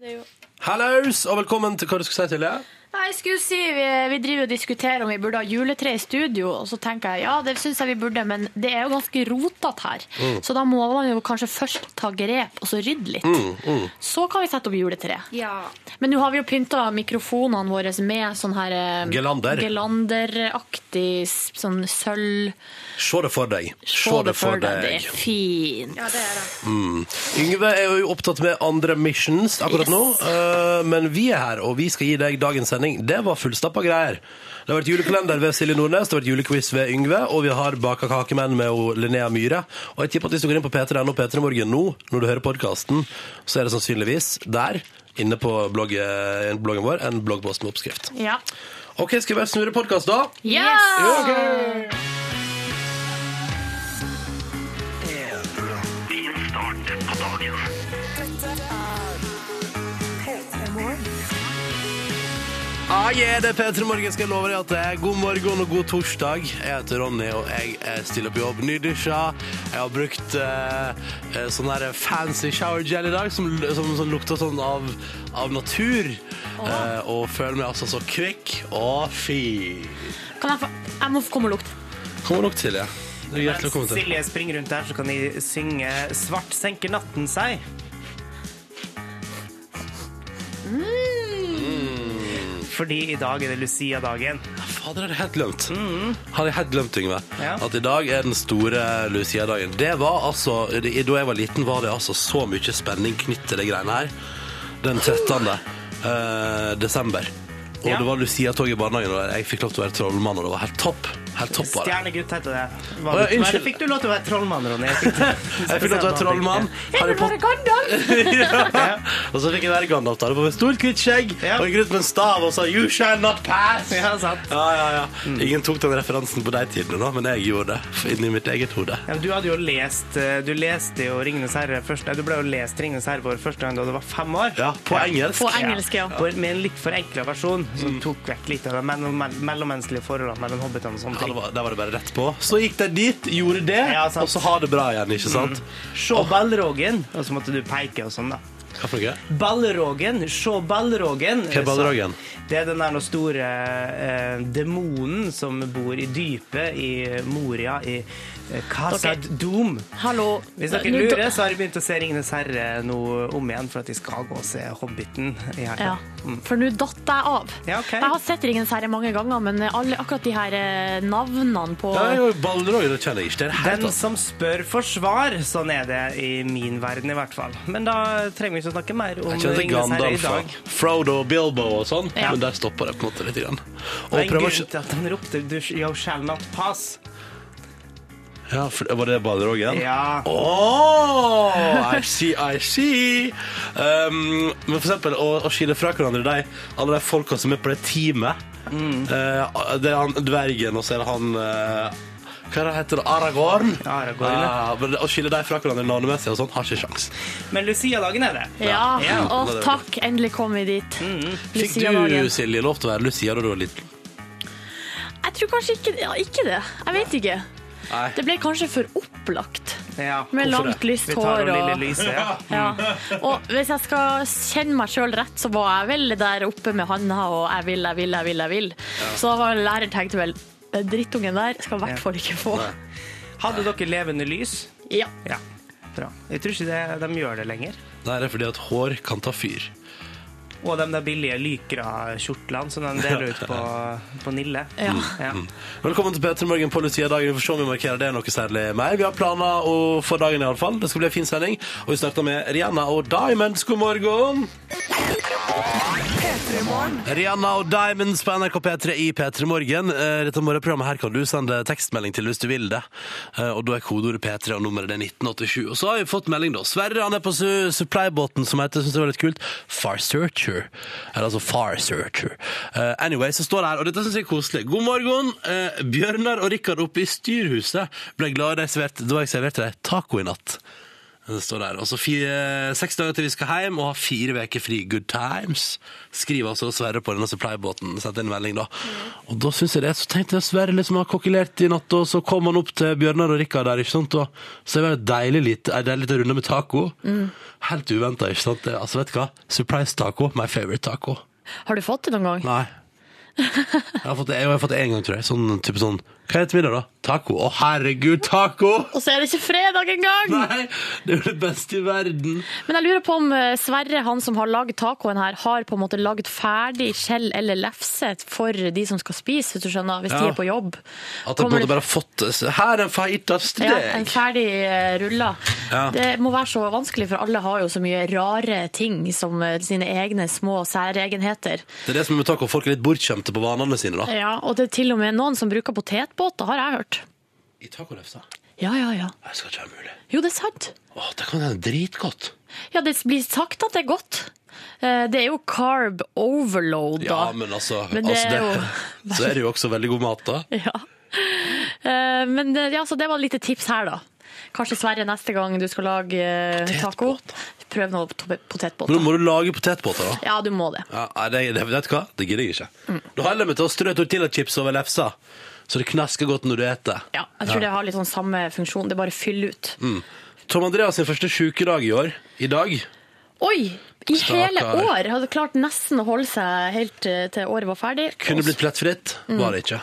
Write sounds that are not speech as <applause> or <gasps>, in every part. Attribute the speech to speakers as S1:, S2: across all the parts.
S1: Det er jo...
S2: Hallaus, og velkommen til hva du skulle si til det.
S1: Nei, jeg skulle si, vi, vi driver jo og diskuterer om vi burde ha juletre i studio, og så tenker jeg ja, det syns jeg vi burde, men det er jo ganske rotete her. Så da må man jo kanskje først ta grep, og så rydde litt. Så kan vi sette opp juletre.
S3: Ja.
S1: Men nå har vi jo pynta mikrofonene våre med sånn her eh,
S2: Gelander.
S1: Gelanderaktig s- sånn sølv.
S2: Se det for deg. Se
S1: Få det for deg. Det er fint.
S3: ja, det er det.
S2: Yngve er jo opptatt med andre missions akkurat
S1: Yes.
S2: nå, eh, men vi er her, og vi skal gi deg dagens sending. Det var fullstappa greier. Det har vært julekalender ved Silje Nordnes, det har vært julequiz ved Yngve, og vi har baka kakemenn med ho- Linnea Myhre. Og jeg tipper at hvis du går inn på p3.no P3 Morgen nå, når du hører podkasten, så er det sannsynligvis der, inne på bloggen, bloggen vår, en bloggpost med oppskrift.
S1: Ja.
S2: OK, skal vi bare snurre podkast, da?
S1: Yes!
S2: Ah, yeah, det er P3 Morgen. Skal jeg love deg at det er god morgen og god torsdag. Jeg heter Ronny, og jeg eh, stiller på jobb nydusja. Jeg har brukt eh, eh, sånn der fancy shower gel i dag, som, som, som lukter sånn av, av natur. Eh, og føler meg altså så kvikk og fy.
S1: Kan jeg få Jeg må få komme og lukte.
S2: Kommer nok til, ja. Du er hjertelig
S4: Mens
S2: velkommen til.
S4: Silje springer rundt her, så kan de synge 'Svart senker natten seg'.
S2: Mm.
S4: Fordi i dag er det Lucia-dagen.
S2: Fader, hadde jeg helt glemt. Hadde jeg helt glemt, Yngve.
S4: Ja.
S2: At i dag er den store Lucia-dagen. Det var altså, det, Da jeg var liten, var det altså så mye spenning knyttet til de greiene her. Den 13. eh, desember. Og
S4: Ja.
S2: det var Lucia-tog i barnehagen, og jeg fikk lov til å være trollmann, og det var helt topp. Helt topp var det.
S4: Stjernegutt heter det. Hva,
S2: Å, ja,
S4: men
S2: unnskyld.
S4: det fikk du lov til å være trollmann, Ronny. Jeg
S2: <laughs>
S4: fikk,
S2: Jeg fikk lov til å være trollmann. Harry Potter. ja. Og så fikk jeg være Gandalf. Da. Det var med stort, hvitt skjegg
S4: Ja.
S2: og jeg gikk rundt med en stav og sa 'You shall not pass'.
S4: Ja, sant.
S2: Ja, ja, ja. Ingen tok den referansen på de tidene, da, men jeg gjorde det inni mitt eget hode.
S4: Ja, men du hadde jo lest eh, Du leste jo 'Ringenes herre' først. Nei, du ble jo lest 'Ringenes herre' for første gang da du var fem år.
S2: Ja, på engelsk.
S1: På engelsk, ja.
S4: På- Med en litt forenkla versjon
S2: Mm.
S4: som tok vekk litt av de mellom, mellommenneskelige forholdene mellom hobbitene og sånne
S2: Ja,
S4: ting.
S2: det var, der var det bare rett på. Så gikk de dit, gjorde det,
S4: Ja, sant. Mm.
S2: og så ha det bra igjen, ikke sant?
S4: Se ballrogen, og så måtte du peke og sånn, da.
S2: Hva for noe?
S4: Ballrogen, se ballrogen.
S2: Hva er ballrogen?
S4: Det er den der noe store eh, demonen som bor i dypet i Moria, i eh, Khazad Dum.
S1: Hallo.
S4: Hvis dere
S1: Nå-
S4: lurer, så har jeg begynt å se 'Ringenes herre' nå om igjen, for at de skal gå og se Hobbiten i helga.
S1: Ja, for nå datt jeg av.
S4: Ja, ok.
S1: Jeg har sett Ringens herre mange ganger, men alle, akkurat de her eh, navnene på
S2: Ja, jo, Balrog, det kjenner jeg ikke. Det er helt
S4: Den
S2: annet.
S4: som spør, får svar. Sånn er det i min verden, i hvert fall. Men da trenger vi ikke å snakke mer om
S2: Jeg kjenner til
S4: Ringenes herre i
S2: Gandalf
S4: dag.
S2: og Frodo og Bilbo og sånn,
S1: Ja.
S2: men der stopper det på en måte litt. Grann. Og
S4: Det er en
S2: prøver
S4: grunn
S2: ikke
S4: til at han ropte du, 'You shall not pass'.
S2: ja, for, Var det Balrogen?
S4: Ja.
S2: Oh, I see, I see. Um, men for eksempel å, å skille fra hverandre de, alle de folka som er på det teamet.
S4: Mm.
S2: Eh, det er han dvergen, og så er det han eh, Hva er det heter det? Aragorn?
S4: Aragorn, ja.
S2: Ah, men det- å skille de fra hverandre navnemessig og sånn har ikke sjans.
S4: Men Lucia-dagen er det.
S1: Ja,
S4: Ja.
S1: og takk, endelig kom vi dit.
S2: Fikk
S1: Lucia-dagen.
S2: du, Silje, lov til å være Lucia da du var liten?
S1: Jeg tror kanskje ikke, ja, ikke det. Jeg vet ikke.
S2: Nei.
S1: Det ble kanskje for opplagt.
S4: Ja.
S1: Med
S2: Hvorfor
S1: langt,
S2: det?
S1: lyst
S4: Vi tar
S1: hår
S4: og Lille
S1: og
S4: Lyse. Ja.
S1: ja. Og hvis jeg skal kjenne meg sjøl rett, så var jeg vel der oppe med handa og 'jeg vil, jeg vil, jeg vil', jeg vil. Så da var læreren tenkte vel Drittungen der skal i hvert fall ikke få.
S4: Hadde dere levende lys?
S1: Ja.
S4: Ja. Bra. Jeg tror ikke det, de gjør det lenger.
S2: Nei, det er fordi at hår kan ta fyr.
S4: Og de der billige Lykra-kjortlene som de deler ut på, på Nille.
S1: Ja.
S4: Ja.
S2: Velkommen til Petter Morgen på Lucia-dagen. Vi får se om vi markerer det noe særlig mer. Vi har planer å- for dagen, i alle fall. Det skal bli en fin sending. Og vi starter med Rihanna og Diamonds. God morgen! Rihanna og Diamonds på NRK P3 i P3 Morgen. Eh, Dette morgenprogrammet her kan du sende tekstmelding til hvis du vil det. Eh, Og da er kodeordet P3 og nummeret det er 1987. Og så har vi fått melding, da. Sverre han er på su- supplybåten som heter, synes det var litt kult, Far Searcher. Eller altså Far Searcher. Eh, Anyway, så står det her, og dette synes jeg er koselig. God morgen! Eh, Bjørnar og Rikard oppe i styrhuset ble glad da jeg serverte- da jeg serverte deg taco i natt. Det står der. Og så fire- seks dager til vi skal hjem og ha fire uker fri. Good times. Skriver altså Sverre på denne supplybåten. Sendte inn en melding, da. Og da synes jeg det. Så tenkte jeg Sverre liksom har kokkelert i natt, og så kom han opp til Bjørnar og Rikard der, ikke sant. Og så er det en deilig lite, en deilig liten runde med taco. Helt uventa, ikke sant. Det- Altså, vet du hva? Surprise taco. My favorite taco.
S1: Har du fått det noen gang?
S2: Nei. Jeg har fått det, jeg har fått det en gang, tror jeg. Sånn type sånn Hva er det til middag, da? Taco. Å, herregud, taco!
S1: Og så er det ikke fredag engang!
S2: Nei, det er jo det beste i verden.
S1: Men jeg lurer på om eh, Sverre, han som har lagd tacoen her, har på en måte lagd ferdig skjell eller lefse for de som skal spise, hvis du skjønner, hvis
S2: Ja.
S1: de er på jobb.
S2: At jeg på en
S1: Kommer
S2: måte
S1: det-
S2: bare har fått det. Så Her er fajitas til
S1: ja, en
S2: deg!
S1: ferdig eh, rulla.
S2: Ja.
S1: Det må være så vanskelig, for alle har jo så mye rare ting som eh, sine egne små særegenheter.
S2: Det er det som er med taco. Folk er litt bortskjemte på vanene sine, da.
S1: Ja, og det er til og med noen som bruker potetbåter, har jeg hørt.
S2: I tacolefsa.
S1: Ja, ja, ja.
S2: Det skal ikke være mulig.
S1: Jo, det er sant.
S2: Å, det kan hende dritgodt.
S1: Ja, det blir sagt at det er godt. Eh, Det er jo carb overload,
S2: Ja,
S1: da.
S2: men altså,
S1: Men det
S2: altså
S1: er
S2: Så er det jo også veldig god mat, da.
S1: <laughs> Ja. Eh, Men det, ja, så det var et lite tips her, da. Kanskje Sverre neste gang du skal lage eh, taco. Prøv noe to-
S2: Men nå
S1: potetbåter.
S2: må du lage potetbåter, da.
S1: Ja, du må det.
S2: Ja, nei, det, det, vet du hva? Det gidder jeg ikke.
S1: Mm.
S2: Da holder jeg meg til å strø tortillachips over lefsa, så det knasker godt når du eter.
S1: Ja, jeg tror det har litt sånn samme funksjon. Det bare fyller ut.
S2: Mm. Tom Andreas sin første sjukedag i år. I dag.
S1: Oi! I
S2: Stakkar.
S1: hele år! Hadde klart nesten å holde seg helt eh, til året var ferdig.
S2: Kunne blitt plettfritt,
S1: Mm.
S2: var det ikke.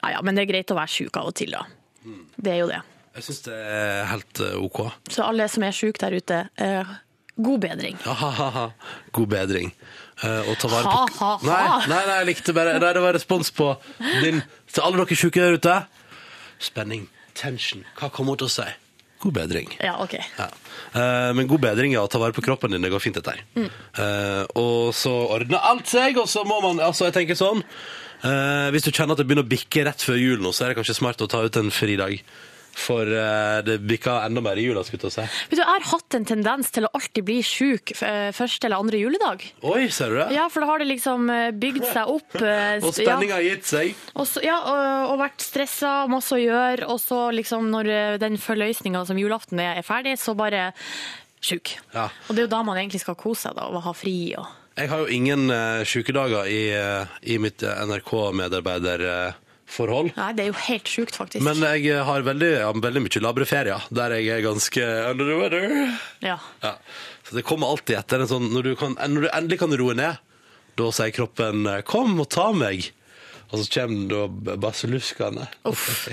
S1: Ja, ja, men det er greit å være sjuk av og til, da.
S2: Mm.
S1: Det er jo det.
S2: Jeg syns det er helt eh, OK.
S1: Så alle som er sjuke der ute, eh, god bedring.
S2: Ja, ha, ha, ha. God bedring. Eh, og ta vare på
S1: Ha, ha, ha.
S2: Nei, nei, nei, jeg likte bare nei, Det var respons på din til alle dere sjuke der ute. Spenning, tension. Hva kommer hun til å si? God bedring.
S1: Ja, OK.
S2: Ja. Eh, men god bedring, ja. Ta vare på kroppen din. Det går fint, dette her.
S1: Mm.
S2: Eh, og så ordner alt seg, og så må man Altså, jeg tenker sånn eh, Hvis du kjenner at det begynner å bikke rett før jul nå, så er det kanskje smart å ta ut en fridag. For eh, det bikker enda mer i jula, skulle jeg til å si.
S1: Vet du, Jeg har hatt en tendens til å alltid bli sjuk eh, første eller andre juledag.
S2: Oi, ser du det?
S1: Ja, for da har det liksom eh, bygd seg opp. eh,
S2: <laughs> Og
S1: st- ja.
S2: spenninga har gitt seg.
S1: Og, så, ja, og, og vært stressa, masse å gjøre, og så liksom når eh, den forløsninga som julaften er, er ferdig, så bare sjuk.
S2: Ja.
S1: Og det er jo da man egentlig skal kose seg, da, og ha fri og
S2: Jeg har jo ingen uh, sykedager i, eh, i mitt NRK-medarbeiderforhold.
S1: Nei, det er jo helt sjukt, faktisk.
S2: men eh, jeg har veldig, ja, veldig mye labre ferier, der jeg er ganske under the weather.
S1: ja.
S2: Ja. Så det kommer alltid etter en sånn Når du, kan, når du endelig kan roe ned, da sier kroppen eh, 'kom og ta meg', og så kommer da baseluskene.
S1: Uff.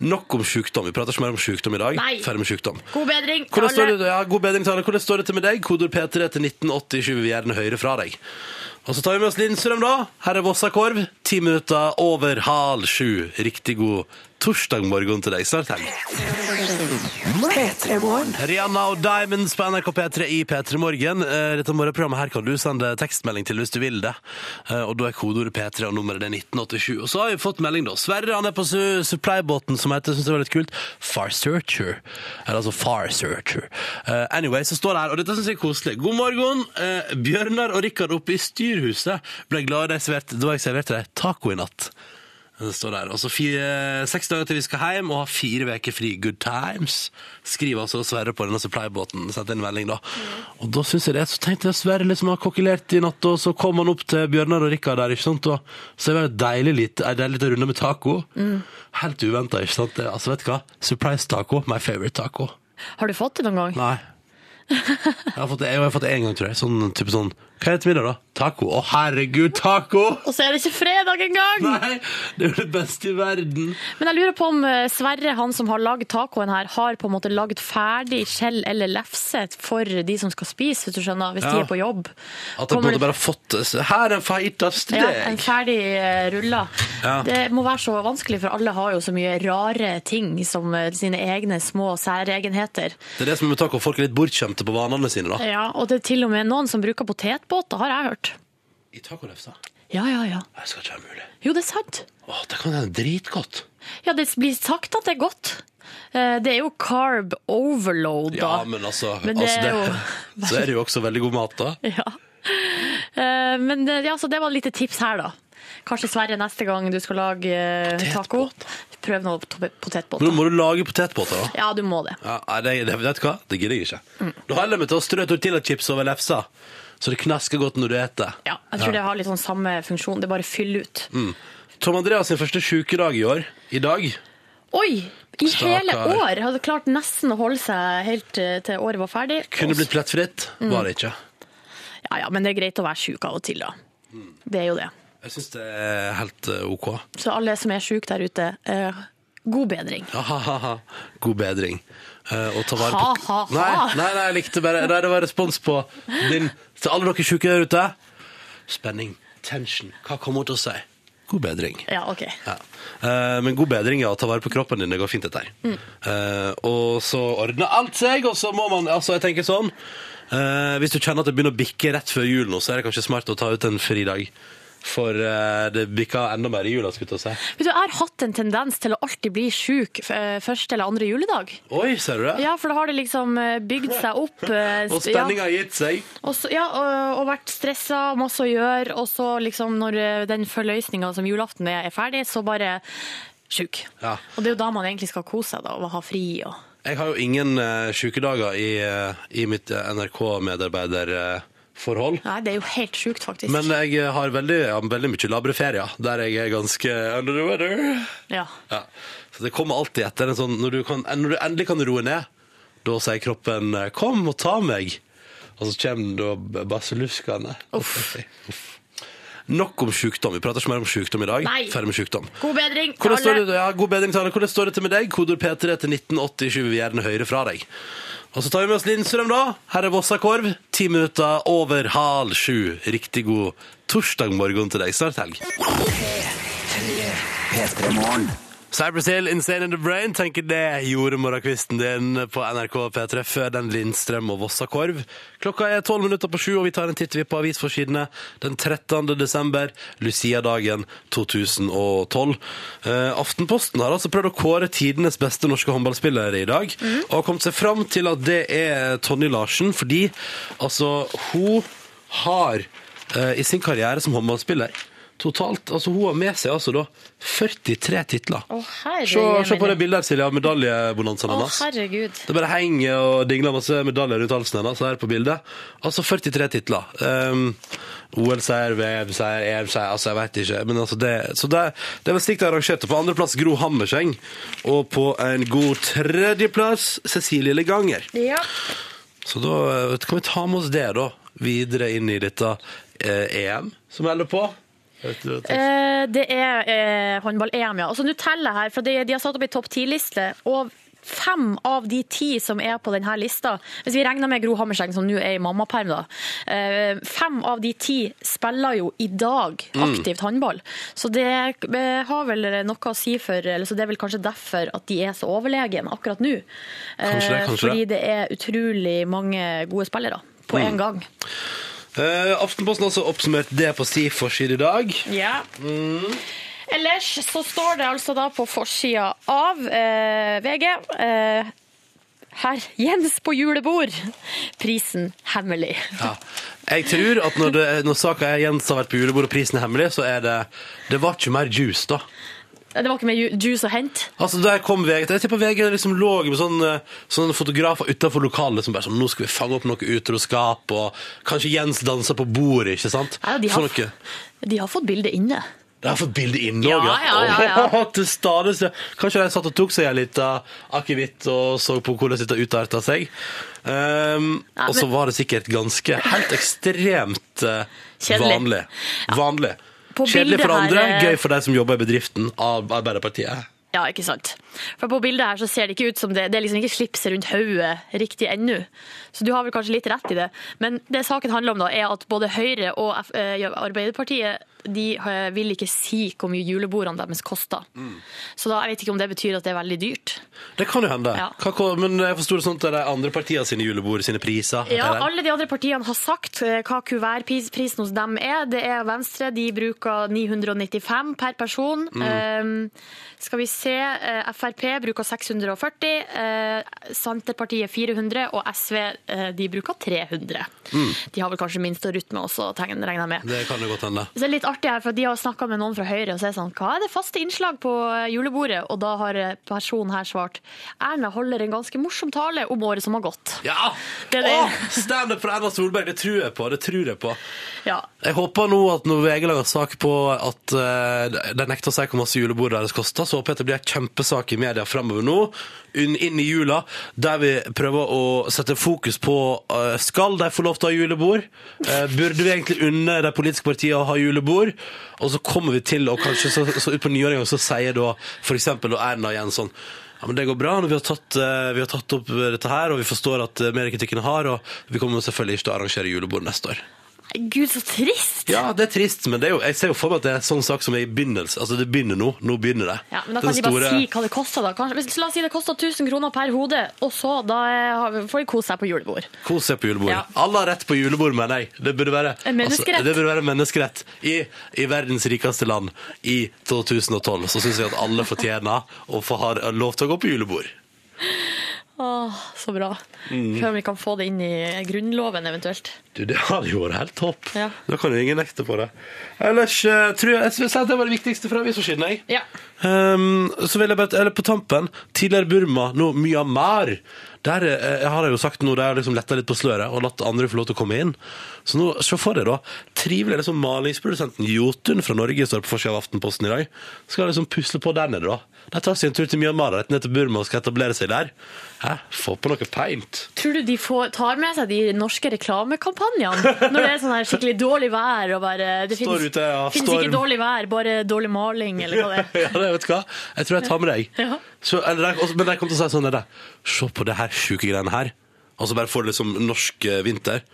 S2: Nok om sykdom. Vi prater ikke mer om sykdom i dag.
S1: Nei.
S2: Ferdig med sykdom.
S1: God bedring til
S2: Hvordan
S1: alle!
S2: står det, ja, god bedring til alle. Hvordan står det til med deg? Kodord P3 til 1987. Vi vil gjerne høre fra deg. Og så tar vi med oss Lindstrøm, da. Her er Vossakorv. Ti minutter over halv sju. Riktig god torsdag morgen til deg. Snart helg. Rihanna og Diamonds på NRK P3 i P3 Morgen. Eh, Dette morgenprogrammet her kan du sende tekstmelding til hvis du vil det. Eh, Og da er kodeordet P3 og nummeret det er 1987. Og så har vi fått melding, da. Sverre han er på su- supplybåten som heter, syns jeg var litt kult, Far Searcher. Eller altså Far Searcher. Eh, Anyway, så står det her, og dette syns jeg er koselig. God morgen. Eh, Bjørnar og Rikard oppe i styrhuset ble glade de serverte, da jeg serverte dem taco i natt. Det står der. Og så fire- seks dager til vi skal hjem og ha fire uker fri. Good times. Skriver altså Sverre på denne supplybåten. Sendte inn en melding, da. Og da synes jeg det. Så tenkte jeg Sverre liksom har kokkelert i natt, og så kom han opp til Bjørnar og Rikard der, ikke sant. Og så er det en deilig lite, en deilig liten runde med taco. Helt uventa, ikke sant. Det, altså, vet du hva? Surprise taco. My favorite taco.
S1: Har du fått det noen gang?
S2: Nei. Jeg har fått det, jeg har fått det en gang, tror jeg. Sånn type sånn Hva er det til middag, da? Taco. Å, herregud, taco!
S1: Og så er det ikke fredag engang!
S2: Nei, det er jo det beste i verden.
S1: Men jeg lurer på om eh, Sverre, han som har lagd tacoen her, har på en måte lagd ferdig skjell eller lefse for de som skal spise, hvis du skjønner, hvis
S2: Ja.
S1: de er på jobb.
S2: At jeg
S1: Kommer
S2: både
S1: det-
S2: bare har fått det. Så Her er fajitas til
S1: ja, en
S2: deg!
S1: ferdig eh, rulla.
S2: Ja.
S1: Det må være så vanskelig, for alle har jo så mye rare ting som eh, sine egne små særegenheter.
S2: Det er det som er med taco. Folk er litt bortskjemte på vanene sine, da.
S1: Ja, og det er til og med noen som bruker potetbåter, har jeg hørt.
S2: I tacolefsa.
S1: Ja, ja, ja.
S2: Det skal ikke være mulig.
S1: Jo, det er sant.
S2: Å, det kan hende dritgodt.
S1: Ja, det blir sagt at det er godt. Eh, Det er jo carb overload, da.
S2: Ja, men altså,
S1: Men det
S2: altså
S1: er
S2: det, Så er det jo også veldig god mat, da.
S1: Ja. <laughs> Eh, Men det, ja, så det var et lite tips her, da. Kanskje Sverre neste gang du skal lage eh, taco.
S2: Potetbåter.
S1: prøve noe to-
S2: Men nå
S1: potetbåter.
S2: må du lage potetbåter, da.
S1: Ja, du må det.
S2: Ja, nei, det, det, vet du hva? Det gidder jeg ikke. Da holder jeg meg til å strø tortillachips over lefsa, så det knasker godt når du eter.
S1: Ja, jeg tror det har litt sånn samme funksjon. Det er bare fyll ut.
S2: Mm. Tom Andreas sin første sjukedag i år. I dag.
S1: Oi! I
S2: Stakkar.
S1: hele år! Hadde klart nesten å holde seg helt eh, til året var ferdig.
S2: Kunne blitt plettfritt, var det ikke.
S1: Ja, ja, men det er greit å være sjuk av og til, da.
S2: Mm.
S1: Det er jo det.
S2: Jeg syns det er helt eh, OK.
S1: Så alle som er sjuke der ute, eh, god bedring.
S2: Ja, ha, ha, ha. God bedring. Eh, og ta vare på
S1: Ha, ha, ha.
S2: Nei, nei, nei, jeg likte bare nei, Det var respons på din til alle dere sjuke der ute. Spenning, tension. Hva kommer hun til å si? God bedring.
S1: Ja, OK.
S2: Ja. Eh, men god bedring, ja. Ta vare på kroppen din. Det går fint, dette her.
S1: Mm.
S2: Eh, og så ordner alt seg, og så må man Altså, jeg tenker sånn eh, Hvis du kjenner at det begynner å bikke rett før jul nå, så er det kanskje smart å ta ut en fridag. For eh, det bikker enda mer i jula, skulle jeg til å si.
S1: Vet du, Jeg har hatt en tendens til å alltid bli sjuk eh, første eller andre juledag.
S2: Oi, ser du det?
S1: Ja, for da har det liksom eh, bygd seg opp. eh,
S2: Og
S1: sp- ja.
S2: spenninga har gitt seg.
S1: Og, så, ja, og, og vært stressa, masse å gjøre, og så liksom når eh, den forløsninga som julaften er, er ferdig, så bare sjuk.
S2: Ja.
S1: Og det er jo da man egentlig skal kose seg, da, og ha fri og
S2: Jeg har jo ingen uh, sjukedager i, eh, i mitt NRK-medarbeiderforhold.
S1: Nei, det er jo helt sjukt, faktisk.
S2: men eh, jeg har veldig, jeg har veldig mye labre ferier, der jeg er ganske under the weather.
S1: ja.
S2: Ja. Så det kommer alltid etter en sånn Når du, kan, når du endelig kan roe ned, da sier kroppen eh, 'kom og ta meg', og så kommer da baseluskene. Uff. Nok om sjukdom. Vi prater ikke mer om sjukdom i dag.
S1: Nei.
S2: Ferdig med sjukdom.
S1: God bedring til
S2: Hvordan står
S1: alle.
S2: det, ja, god bedring til alle. Hvordan står det til med deg? Kodord P3 til 1987 vil vi gjerne høre fra deg. Og så tar vi med oss Lindstrøm, da. Her er Vossakorv. Ti minutter over halv sju. Riktig god torsdag morgen til deg. Snart helg. Cypress Hill, Insane in the Brain, tenker det gjorde morgenkvisten din på NRK P3 før den Lindstrøm og Vossakorv. Klokka er tolv minutter på sju, og vi tar en titt vi på avisforsidene den 13. desember, Lucia-dagen 2012. Eh, Aftenposten har altså prøvd å kåre tidenes beste norske håndballspillere i dag, og har kommet seg fram til at det er Tonje Larsen, fordi altså, hun har eh, i sin karriere som håndballspiller Totalt, altså Hun har med seg altså da 43 titler.
S1: Å, herre
S2: se, se på
S1: jemini.
S2: det bildet her, Silje, av medaljebonanzaen
S1: Å,
S2: hennes.
S1: herregud.
S2: det bare henger og dingler masse medaljer rundt halsen hennes her på bildet. Altså 43 titler. Um, OL-seier, VM-seier, EM-seier, altså jeg veit ikke. Men altså det, så det, det er vel slik de arrangerte. På andreplass Gro Hammerseng, og på en god tredjeplass Cecilie Leganger.
S1: Ja.
S2: Så da eh, kan vi ta med oss det da, videre inn i dette eh, EM som holder på. Vet du, vet du.
S1: Eh, det er eh, håndball-EM, ja. Altså, Nå teller jeg her, for de, de har satt opp en topp ti-liste. og Fem av de ti som er på denne lista, hvis vi regner med Gro Hammerseng, som nå er i mammaperm, da, eh, fem av de ti spiller jo i dag
S2: Mm.
S1: aktivt håndball. Så det eh, har vel noe å si for eller Så det er vel kanskje derfor at de er så overlegen akkurat nå.
S2: Kanskje det, Mm.
S1: Eh,
S2: kanskje
S1: Fordi det er utrolig mange gode spillere på én gang.
S2: Eh, Aftenposten har også oppsummert det på si forside i dag.
S1: Ja. Ellers så står det altså da på forsida av eh, VG eh, Herr Jens på julebord. Prisen hemmelig.
S2: Ja. Jeg tror at når, det, når saka er Jens har vært på julebord og prisen er hemmelig, så er det Det var ikke mer juice, da.
S1: Det var ikke mer ju- juice å hente.
S2: Altså, der kom VG Jeg tipper VG liksom lå med sånne, sånne fotografer utenfor lokalet som bare sånn Nå skal vi fange opp noe utroskap, og kanskje Jens danser på bordet, ikke sant?
S1: Ja, de,
S2: Sånn
S1: har,
S2: noe.
S1: de har fått bildet inne.
S2: Det har fått bildet inn
S1: Ja,
S2: òg,
S1: ja, ja, ja.
S2: Til stadigste. Kanskje de satt og tok seg en liten akevitt og så på hvordan dette utarta seg. Um,
S1: Ja,
S2: Og så
S1: men-
S2: var det sikkert ganske helt ekstremt eh,
S1: Kjedelig.
S2: vanlig. Vanlig.
S1: På
S2: Kjedelig
S1: bildet
S2: for andre,
S1: her, eh,
S2: gøy for de som jobber i bedriften av Arbeiderpartiet.
S1: Ja, ikke sant. For på bildet her så ser det ikke ut som det Det er liksom ikke slipset rundt hodet riktig ennå. Så du har vel kanskje litt rett i det. Men det saken handler om, da, er at både Høyre og F eh, ja, Arbeiderpartiet de eh, vil ikke si hvor mye julebordene deres koster. Så da, jeg vet ikke om det betyr at det er veldig dyrt.
S2: Det kan jo hende.
S1: Ja.
S2: Hva kom- men jeg forsto det sånn at det er de andre partiene sine julebord, sine priser.
S1: Ja,
S2: er det?
S1: alle de andre partiene har sagt eh, hva kuvertprisen hos dem er. Det er
S2: Mm.
S1: Venstre, de bruker 995 per person. Eh, skal Ehm, vi se, eh, Frp bruker 640, eh, Senterpartiet 400 og SV eh, de bruker 300.
S2: Mm.
S1: De har vel kanskje minst å rutte med også, tegn- regner jeg med.
S2: Det kan det godt hende.
S1: Så det er litt artig her, for De har snakka med noen fra Høyre og så er det sånn Hva er det faste innslag på eh, julebordet? Og da har eh, personen her svart Erna holder en ganske morsom tale om året som har gått.
S2: Ja!
S1: Det er det.
S2: Åh, Standup fra Erna Solberg, det tror jeg på. det tror jeg på.
S1: Ja,
S2: Jeg håper nå at når VG lager sak på at eh, de nekter å si hvor masse julebord deres koster, så håper jeg at det blir en kjempesak i media framover nå, inn, inn i jula, der vi prøver å sette fokus på eh, skal de få lov til å ha julebord? Eh, burde vi egentlig unne de politiske partiene å ha julebord? Og så kommer vi til, og kanskje så, så ut på nyåringen, så sier da f.eks. Erna igjen sånn ja, men Det går bra. Vi har, tatt, eh, vi har tatt opp dette her, og vi forstår at eh, mediekritikken har, og vi kommer selvfølgelig ikke til å arrangere julebord neste år.
S1: Gud, så trist!
S2: Ja, det er trist, men det er jo, jeg ser jo for meg at det er en sånn sak som er i begynnelse. Altså, det begynner nå. Nå begynner det.
S1: Ja, men da
S2: Den
S1: kan de bare
S2: store-
S1: si hva det koster, da. Kanskje, hvis- la oss si det koster 1000 kroner per hode, og så da eh, har- får de kose seg på julebord.
S2: Kos deg på julebord.
S1: Ja.
S2: Alle har rett på julebord, mener jeg. Det burde være Altså,
S1: En menneskerett.
S2: det burde være en menneskerett. I, I verdens rikeste land i 2012 så syns jeg at alle fortjener å få ha lov til å gå på julebord.
S1: Åh, så bra.
S2: Mm.
S1: Før vi kan få det inn i Grunnloven, eventuelt.
S2: Du, det hadde jo vært helt topp.
S1: Ja.
S2: Da kan jo ingen nekte på det. Ellers eh, tror jeg, jeg vil si at det var det viktigste fra avisforsiden, jeg.
S1: Ja.
S2: Ehm, så vil jeg bare, eller på tampen, tidligere Burma, nå Myanmar. Der eh, har jeg jo sagt nå, der har jeg liksom letta litt på sløret og latt andre få lov til å komme inn. Så nå, se for deg da, trivelig liksom malingsprodusenten Jotun fra Norge står på forsida av Aftenposten i dag. Skal liksom pusle på der nede, da. De tar seg en tur til Myanmar, rett ned til Burma og skal etablere seg der. Hæ? Få på noe paint.
S1: Tror du de får, tar med seg de norske reklamekampanjene når det er sånn her skikkelig dårlig vær og bare Det
S2: Står
S1: finnes,
S2: ute, ja,
S1: finnes
S2: storm.
S1: ikke dårlig vær, bare dårlig maling, eller hva det er.
S2: <laughs> ja, det vet du hva. Jeg tror jeg tar med deg.
S1: Ja.
S2: Så, eller, de- også- men de kommer til å si sånn er det. Se på det her sjuke greiene her. Og så bare får du liksom norsk eh, vinter.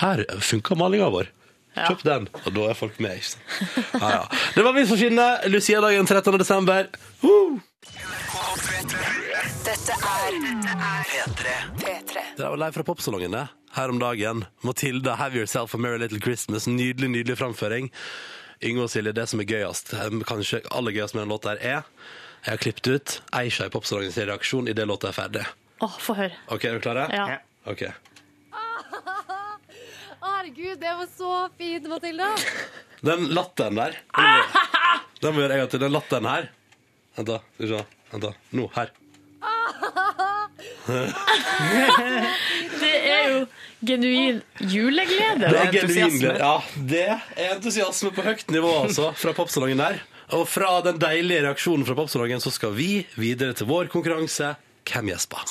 S2: Her funka malinga vår.
S1: Ja.
S2: Kjøp den, og da er folk med. ikke sant? Ja, ja. Det var minst for skinnet. Lucia-dagen 13. desember. Woo!
S3: Dette er P3.
S2: Det der var live fra popsalongen det. Her om dagen. Matilda, Have Yourself a Merry Little Christmas. Nydelig, nydelig framføring. Yngve og Silje, det som er gøyest, eh, kanskje aller gøyest med den låta her, er Jeg har klippet ut Eisha i popsalongen sin reaksjon idet låta er ferdig.
S1: Åh, få høre.
S2: OK, er du klare?
S1: Ja.
S2: OK.
S5: Herregud, det var så fint, Matilda.
S2: Den latteren der Den må, den må gjøre en gang til. Den latteren her. Vent, da. Skal vi se. Vent, da. Nå. Her.
S1: Det er jo genuin juleglede.
S2: Det er
S4: er
S2: genuin
S4: entusiasme.
S2: glede. Ja, det er entusiasme på høyt nivå, altså, fra popsalongen der. Og fra den deilige reaksjonen fra popsalongen så skal vi videre til vår konkurranse. Hvem gjesper?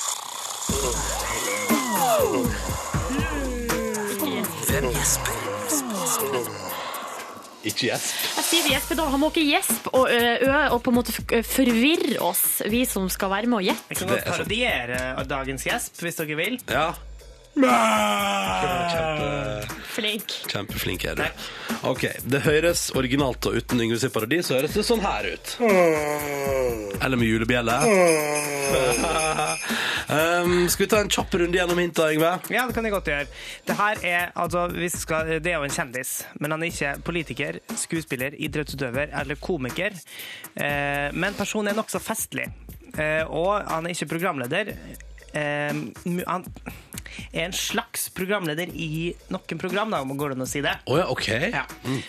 S2: Ikke gjesp.
S1: Jeg sier til Jesper da, han må ikke gjespe og ø, ø, og på en måte f- forvirre oss, vi som skal være med og gjette.
S4: Jeg kan
S2: Det
S4: godt
S2: er sant.
S4: parodiere dagens gjesp, hvis dere vil.
S2: Ja. Kjempe...
S1: Flink.
S2: Kjempeflink er du. Ok, Det høres originalt og uten Yngve sin parodi, så høres det sånn her ut. Eller med julebjelle. um, skal vi ta en kjapp runde gjennom hinta, Yngve?
S4: Ja, det kan jeg godt gjøre. Det her er, altså, hvis jeg skal, det er jo en kjendis, men han er ikke politiker, skuespiller, idrettsutøver eller komiker. Eh, men personen er nokså festlig, eh, og han er ikke programleder. Eh, mu- han er en slags programleder i noen program, da, om går det an å si det.
S2: Å ja, OK.
S4: Ja.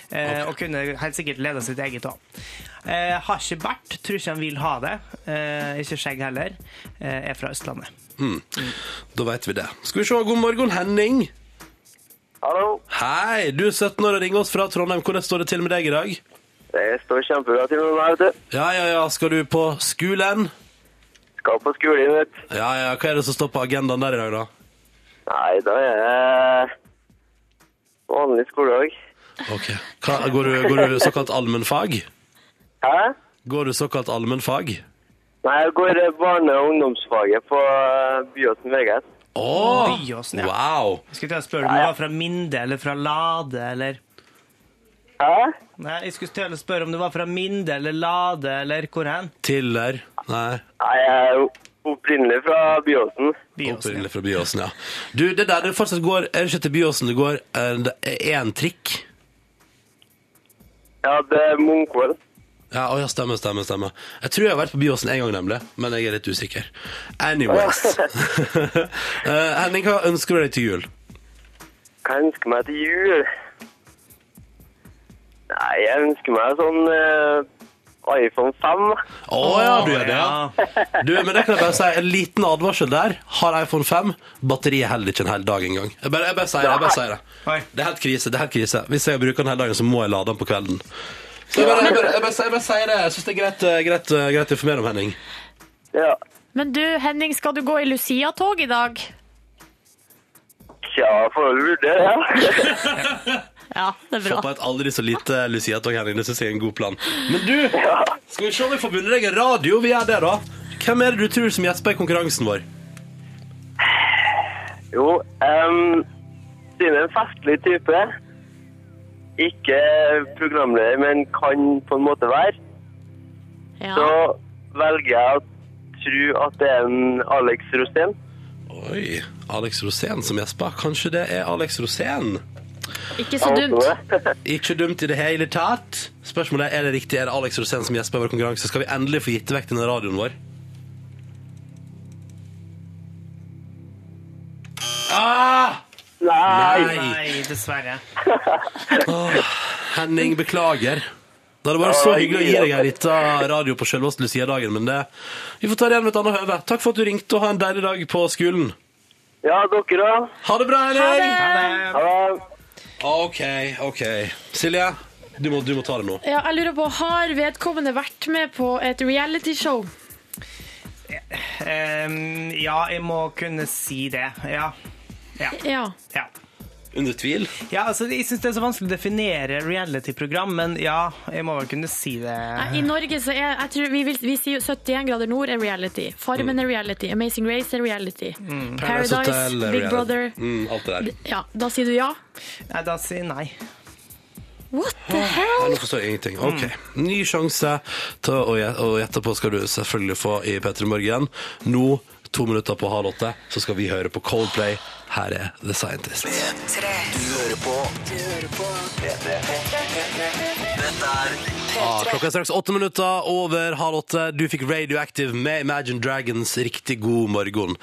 S4: Eh, og kunne helt sikkert leda sitt eget òg. Eh, har ikke bart, tror ikke han vil ha det. Eh, ikke skjegg heller. Eh, er fra Østlandet.
S2: Mm. Da veit vi det. Skal vi se. God morgen, Henning.
S6: Hallo.
S2: Hei, du er 17 år og ringer oss fra Trondheim. Hvordan står det til med deg i dag?
S6: Det står kjempebra til med meg, vet du.
S2: Ja, ja, ja. Skal du på skolen?
S6: Skal på skolen, vet du.
S2: Ja, ja. Hva er det som står på agendaen der i dag, da?
S6: Nei, da er det vanlig skoledag.
S2: Ok. Hva, går, du, går du såkalt allmennfag?
S6: Hæ?
S2: Går du såkalt allmennfag?
S6: Nei, jeg går eh, barne- og ungdomsfaget på eh, Byåsen VGS.
S2: Åh,
S4: Byåsen, ja.
S2: Wow!
S4: Skulle til å spørre om du var fra Minde eller fra Lade eller
S6: Hæ?
S4: Nei, jeg skulle til å spørre om du var fra Minde eller Lade eller hvor hen?
S2: Tiller Nei,
S6: Nei, jeg er jo opprinnelig fra Byåsen.
S4: Byåsen.
S2: opprinnelig fra Byåsen, ja. Du, det der det fortsatt går Er det ikke til Byåsen det går én trikk?
S6: Ja, det er Munkvoll.
S2: Ja, å, ja, stemmer, stemmer, stemmer. Jeg tror jeg har vært på Byåsen en gang, nemlig. Men jeg er litt usikker. Anyways.
S4: <laughs>
S2: <laughs> Eh, Henning, hva ønsker du deg til jul?
S6: Hva jeg ønsker meg til jul? Nei, jeg ønsker meg sånn eh, iPhone 5. da.
S2: Å ja, du gjør det, ja. Du, men det kan jeg bare si, en liten advarsel der. Har iPhone 5, batteriet holder ikke en hel dag engang. Jeg bare, jeg bare sier det. jeg bare sier
S4: Oi.
S2: Det Det er helt krise. det er helt krise. Hvis jeg bruker den hele dagen, så må jeg lade den på kvelden. Så jeg bare, jeg bare, jeg bare, sier- jeg bare sier det. Jeg syns det er greit, eh, greit, eh, greit å informere om, Henning.
S6: Ja.
S1: Men du, Henning, skal du gå i Lucia-tog i dag?
S6: Tja, får vel vurdere det. Ja.
S1: Ja, det er
S2: Få på
S1: bra.
S2: et aldri så lite Lucia-tog, Henning. Det syns jeg er en god plan. Men du, skal vi se om vi får bundet deg en radio? Vi gjør det, da. Hvem er det du tror som gjesper i konkurransen vår?
S6: Jo, um, siden jeg er en festlig type. Ikke programleder, men kan på en måte være. Så
S1: Ja.
S6: velger jeg å tro at det er en Alex Rosén.
S2: Oi, Alex Rosén som gjesper. Kanskje det er Alex Rosén?
S1: Ikke så dumt.
S6: Sånn
S2: Ikke dumt i det hele tatt. Spørsmålet er er det riktig. Er det Alex Rosén som gjesper i vår konkurranse? Skal vi endelig få gitt vekk denne radioen vår? Ah!
S6: Nei!
S4: Nei, dessverre.
S2: Henning, beklager. Det hadde vært så hyggelig å gi deg en liten radio på selveste Lucia-dagen, men det, vi får ta det igjen med et annet høve. Takk for at du ringte, og ha en deilig dag på skolen.
S6: Ja, dere òg.
S2: Ha det bra, Henning!
S4: Ha det.
S6: Ha det.
S2: OK, OK. Silje, du må, du må ta det nå.
S1: Ja, jeg lurer på, Har vedkommende vært med på et realityshow?
S4: Ehm, ja, jeg må kunne si det. Ja. Ja.
S1: Ja.
S4: ja.
S2: Under tvil.
S4: ja altså, jeg syns det er så vanskelig å definere reality-program, men ja, jeg må vel kunne si det.
S1: Nei, I Norge så er jeg tror vi, vil, vi sier jo 71 grader nord er reality. Farmen er reality. Amazing Race er reality. Paradise,
S2: Hotel, reality.
S1: Big Brother.
S2: Mm, alt det der.
S1: Ja, da sier du ja?
S4: Nei, da sier jeg nei.
S1: What the
S2: Nei,
S1: hell?
S2: nå forstår jeg ingenting. Ok, Ny sjanse til å gje- å gjette på skal du selvfølgelig få i P3 Morgen. Nå, to minutter på halv åtte, så skal vi høre på Coldplay. Her er The Scientist.
S3: Tre.
S2: Ah, klokka er straks åtte minutter over halv åtte. Du fikk Radioactive med Imagine Dragons. Riktig god morgen.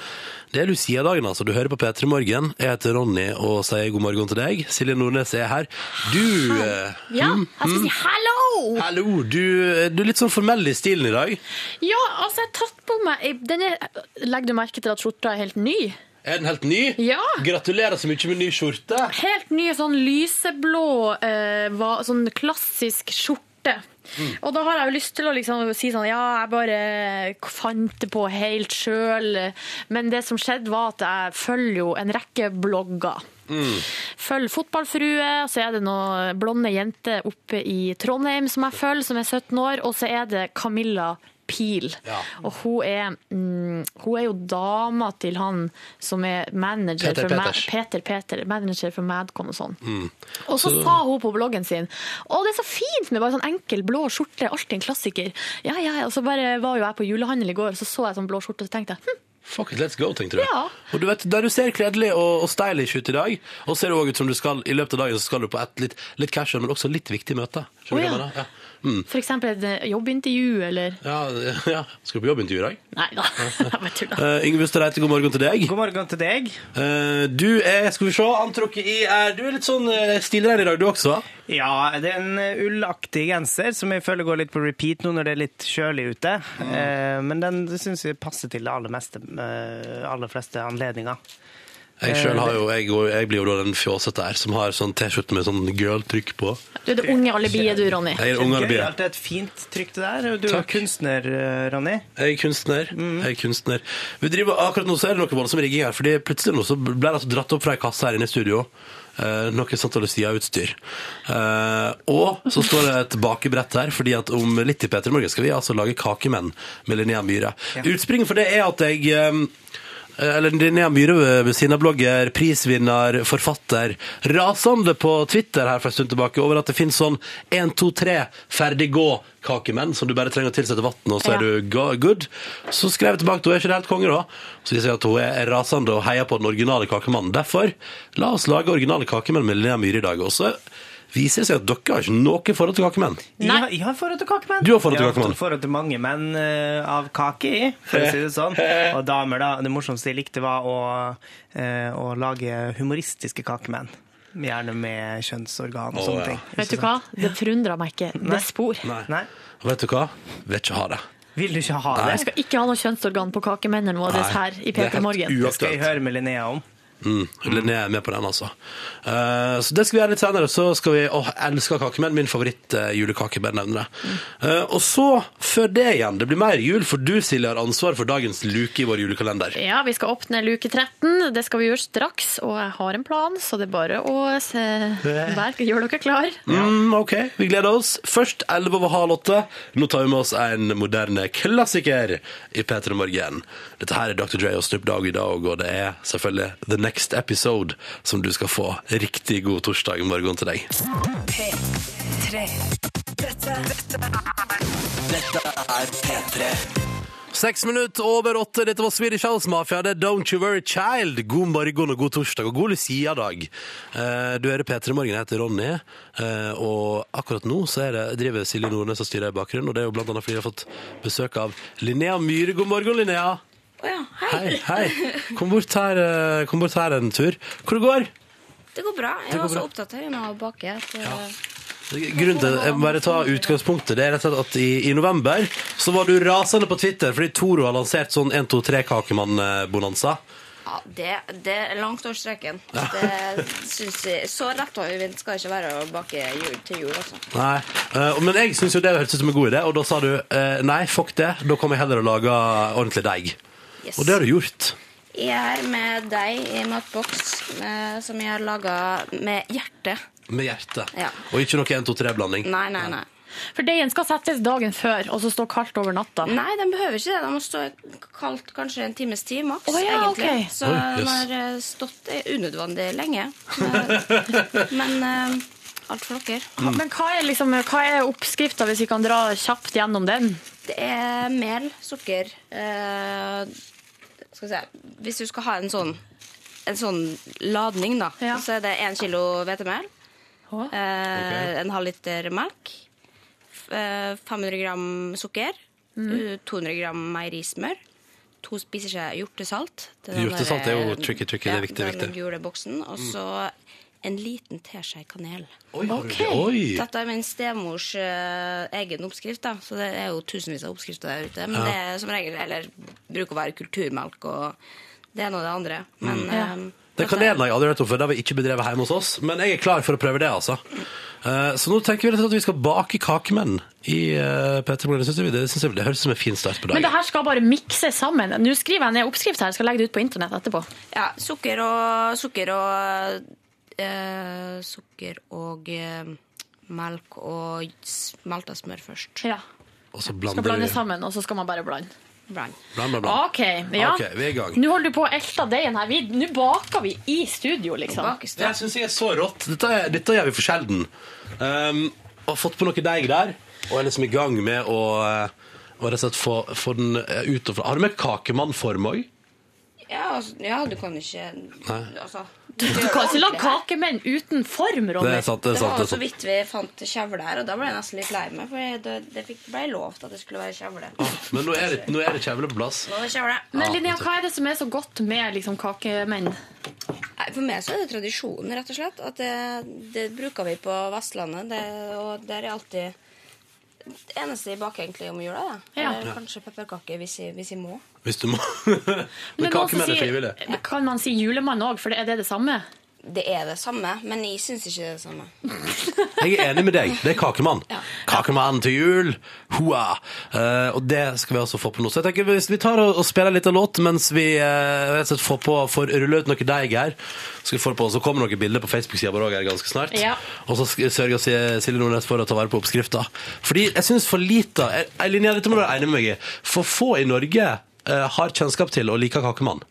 S2: Det er Lucia-dagen, altså. Du hører på P3 Morgen. Jeg heter Ronny og sier god morgen til deg. Silje Nordnes er her. Du eh,
S1: Ja, jeg skal
S2: Hmm?
S1: si hello!
S2: Hallo! Du, du er litt sånn formell i stilen i dag.
S1: Ja, altså, jeg har tatt på meg jeg- denne, Legger du merke til at skjorta er helt ny?
S2: Er den helt ny?
S1: Ja.
S2: Gratulerer så mye med ny skjorte.
S1: Helt ny sånn lyseblå, eh, va- sånn klassisk skjorte. Og da har jeg jo lyst til å liksom si sånn Ja, jeg bare fant det på helt sjøl. Men det som skjedde, var at jeg følger jo en rekke blogger. Følger Fotballfrue, og så er det noen blonde jenter oppe i Trondheim som jeg følger, som er 17 år, og så er det Camilla Pil.
S2: Ja.
S1: Og hun er, mm, hun er jo dama til han som er manager
S2: Peter
S1: for Ma-
S2: Peters. Mm.
S1: Peter Peter, manager for Madcon og sånn. Og så sa hun på bloggen sin Å, det er så fint med bare sånn enkel blå skjorte, alltid en klassiker. Ja, ja, ja. Og så bare var jo jeg på julehandel i går, og så så jeg sånn blå skjorte, og så tenkte jeg hm,
S2: Fuck it, let's go, tenkte du.
S1: Ja.
S2: Og du vet, Der du ser kledelig og, og stylish ut i dag, og ser også ut som du skal i løpet av dagen så skal du på et litt, litt casual, men også litt viktig møte. Skjønner du hva
S1: Å,
S2: jeg
S1: ja.
S2: mener? Ja.
S1: for eksempel et eh, jobbintervju, eller
S2: Ja, ja. Skal du på jobbintervju i dag?
S1: Nei da, <laughs> jeg bare
S2: <laughs>
S1: tuller.
S2: Uh, Yngve Ustadreite, god morgen til deg.
S4: God morgen til deg.
S2: Eh, du er skal vi se, antrukket i er, Du er litt sånn uh, stilrein i dag, du også.
S4: Ja, det er en eh, ullaktig genser som jeg føler går litt på repeat nå når det er litt kjølig ute.
S2: Mm.
S4: Eh, men den syns jeg passer til det aller, meste, eh, aller fleste anledninger.
S2: Jeg selv har jo, jeg, og- jeg blir jo da den fjåsete her som har sånn T-skjorte med sånn girl-trykk på.
S1: Du er det unge alibiet du, Ronny.
S2: Jeg er ungene
S4: Gøy
S2: blir.
S4: at det er et fint trykk det der. Du er
S2: Takk.
S4: kunstner, eh, Ronny.
S2: Jeg er kunstner. Jeg er kunstner. Vi driver, akkurat nå så er det noe voldsom rigging her, fordi plutselig nå så ble det altså dratt opp fra ei kasse her inne i studio. eh, noe Santa Lucia-utstyr. Eh, og så står det et bakebrett her, fordi at om litt i P3 Morgen skal vi altså lage kakemenn med Linnea Myhre. Utspringet for det er at jeg eh, eller Linnea Myhre eh, ved siden av blogger, prisvinner, forfatter. Rasende på Twitter her for en stund tilbake over at det finnes sånn 1, 2, 3, ferdig gå kakemenn, som du bare trenger å tilsette vann, og så er
S1: Ja.
S2: du go- good. Så skrev jeg tilbake til henne, er ikke det helt konge da? Så viser jeg at hun er rasende og heier på den originale kakemannen. Derfor, la oss lage originale kakemenn med Linnea Myhre i dag. Og så viser det seg at dere har ikke noe forhold til kakemenn.
S4: Jeg, har- jeg har forhold til kakemenn.
S2: Du har forhold til
S4: Jeg
S2: kakemenn.
S4: forhold til mange menn eh, av kake i, for å si det sånn.
S2: <laughs>
S4: Og damer, da. Det morsomste jeg likte, var å, eh, å lage humoristiske kakemenn. Gjerne med
S2: Å,
S4: kjønnsorgan og
S2: ja.
S4: sånne ting.
S1: Vet du hva? Det forundrer meg ikke. Det spor.
S2: Nei.
S4: Nei.
S2: Og vet du hva? Vil ikke ha det.
S4: Vil du ikke ha
S2: Nei.
S4: det?
S1: Jeg skal ikke ha noe kjønnsorgan på kakemennene våre
S2: Nei,
S1: her i
S2: det er
S1: P3 Morgen.
S2: helt
S4: Det skal jeg
S2: uaktuelt.
S4: høre med Linnea om.
S2: Mm, Linnea er med på den, altså. Eh, så det skal vi gjøre litt senere. Så skal vi Åh, jeg elsker kakemenn. Min favoritt eh, julekake. Bare nevne det. Eh, og så, før det igjen, det blir mer jul, for du, Silje, har ansvar for dagens luke i vår julekalender.
S1: Ja, vi skal åpne luke 13. Det skal vi gjøre straks, og jeg har en plan, så det er bare å se. Vær, gjør dere klar.
S2: Mm, ok, vi gleder oss. Først 11 over halv åtte. Nå tar vi med oss en moderne klassiker i P3 Morgen. Dette her er Dr. Dre og Snoop Dogg i dag, og det er selvfølgelig The Next Episode som du skal få. Riktig god torsdag morgen til deg. Seks minutter over åtte. Dette var Swedish House Mafia. Det er Don't You Worry Child. God morgen og god torsdag og god Lucia-dag. Eh, Du hører P3 Morgen. Jeg heter Ronny. eh, Og akkurat nå så er det, driver Silje Nordnes og styrer i bakgrunnen. Og det er jo blant annet fordi vi har fått besøk av Linnea Myhre. God morgen, Linnea. Hei, hei. Kom bort her, eh, kom bort her en tur. Hvor det går?
S7: Det går bra. Jeg
S2: går
S7: var så
S2: bra.
S7: opptatt av det med å bake. At, eh,
S2: Grunnen til Jeg må bare ta utgangspunktet. Det er rett og slett at i, i november så var du rasende på Twitter fordi Toro har lansert sånn eh, 1-2-3-kakemann-bonanza.
S7: ja, det, det er langt over streken. Det synes jeg, så rett over vind skal det ikke være å bake jul til jul, altså.
S2: Nei, eh, men jeg syns jo det hørtes ut som en god idé, og da sa du eh, nei, fuck det, da kommer jeg heller og lager ordentlig deig.
S7: Yes.
S2: Og det har du gjort.
S7: Jeg er med deg i matboks eh, som jeg har laga med hjertet.
S2: Med hjertet.
S7: Ja.
S2: Og ikke noe 1-2-3-blanding.
S7: Nei, nei, nei.
S1: For deigen skal settes dagen før, og så stå kaldt over natta.
S2: Mm.
S7: Nei, den behøver ikke det. Den må stå kaldt kanskje en times tid maks.
S1: Å ja,
S7: egentlig.
S1: ok.
S7: Så
S2: Oi,
S7: den
S2: yes.
S7: har eh, stått eh, unødvendig
S2: <laughs>
S7: lenge. Men eh, alt for dere.
S1: Men hva er, liksom, hva er oppskrifta, hvis vi kan dra kjapt gjennom den?
S7: Det er mel, sukker eh, Skal vi se Hvis du skal ha en sånn, en sånn ladning, da,
S1: Ja.
S7: så er det én kilo hvetemel.
S1: Å.
S7: eh, En halv liter melk. f- eh, 500 gram sukker. u- 200 gram meierismør. To spiseskjeer hjortesalt. Det den
S2: Hjortesalt er jo
S7: der- eh,
S2: tricky, tricky, det er viktig,
S7: den
S2: viktig. Mm.
S7: gule boksen. Og så en liten teskje kanel.
S2: Oi, har du
S1: Ok.
S2: det? Oi.
S7: Dette er min stemors eh, egen oppskrift, da. så det er jo tusenvis av oppskrifter der ute. Men det er som regel eller bruker å være kulturmelk og det ene og det andre. Men eh,
S2: Mm. Det er
S7: dette-
S2: kanelen har jeg aldri hørt om før. Det har vi ikke bedrevet hjemme hos oss. Men jeg er klar for å prøve det, altså. Eh, Så nå tenker vi rett og slett at vi skal bake kakemenn i eh, P3 Morgen. Det synes jeg- Det synes jeg det høres ut som en fin start på
S1: Men det
S2: dagen.
S1: her skal bare mikses sammen. Nå skriver jeg ned oppskrift her, skal legge det ut på internett etterpå.
S7: Ja, sukker og Sukker og eh, Sukker og eh, melk og smelta smør først.
S2: Og så
S1: Skal
S2: blander
S1: blande
S2: vi.
S1: sammen, og så skal man bare blande.
S7: Bland.
S2: Bland, bland, bland.
S1: OK, ja.
S2: Ok, vi er i gang.
S1: Nå holder du på å elte deigen her. Vi- Nå baker vi i studio, liksom.
S7: Bakes
S2: Det
S7: det.
S2: syns jeg er så rått. Dette, er- dette gjør vi for sjelden. Um, har fått på noe deig der, og er liksom i gang med å eh, og rett og slett få, få den eh, ut og fra. Har du med kakemannform òg?
S7: Ja, altså, ja, du kan ikke altså,
S1: Du kan ikke lage kakemenn uten form,
S2: Det
S1: Ronny.
S2: er sant. det er
S7: Det
S2: sant,
S7: var
S2: det
S7: jo
S2: er
S7: så
S2: sant.
S7: vidt vi fant kjevle her, og da ble jeg nesten litt lei meg. For jeg- det, det fikk, ble lovt at det skulle være kjevle. Nå
S2: Men nå er det, nå er det kjevle på plass.
S7: er det kjevle.
S1: Men Linnea, hva er det som er så godt med liksom, kakemenn?
S7: Nei, For meg så er det tradisjonen, rett og slett. At det, det bruker vi på Vestlandet. Det, og der er alltid det eneste jeg baker egentlig om jula. Da.
S1: Ja.
S7: Eller kanskje pepperkaker hvis, jeg- hvis jeg må.
S2: Hvis du må. Men
S1: Det er noen som
S2: kakemenn er frivillig.
S1: sier- Kan man si julemann òg, for er det det samme?
S7: Det er det samme, men jeg syns ikke det er det samme.
S2: Jeg er enig med deg. Det er kakemann. Kakemann til jul! Hoa! Eh, og det skal vi altså få på nå. Så jeg tenker hvis vi tar og, og spiller litt av låt mens vi eh, rett og slett får, på, får rulle ut noe deig her, så, skal vi få det på, så kommer noen bilder på Facebook-sida vår også her ganske snart.
S1: Ja.
S2: Og så skal- sørger Sil- Silje Nordnes for å ta vare på oppskrifta. Fordi jeg syns for lite jeg- jeg- Linnea, dette må du være enig med meg i. For få i Norge eh, har kjennskap til og liker kakemann.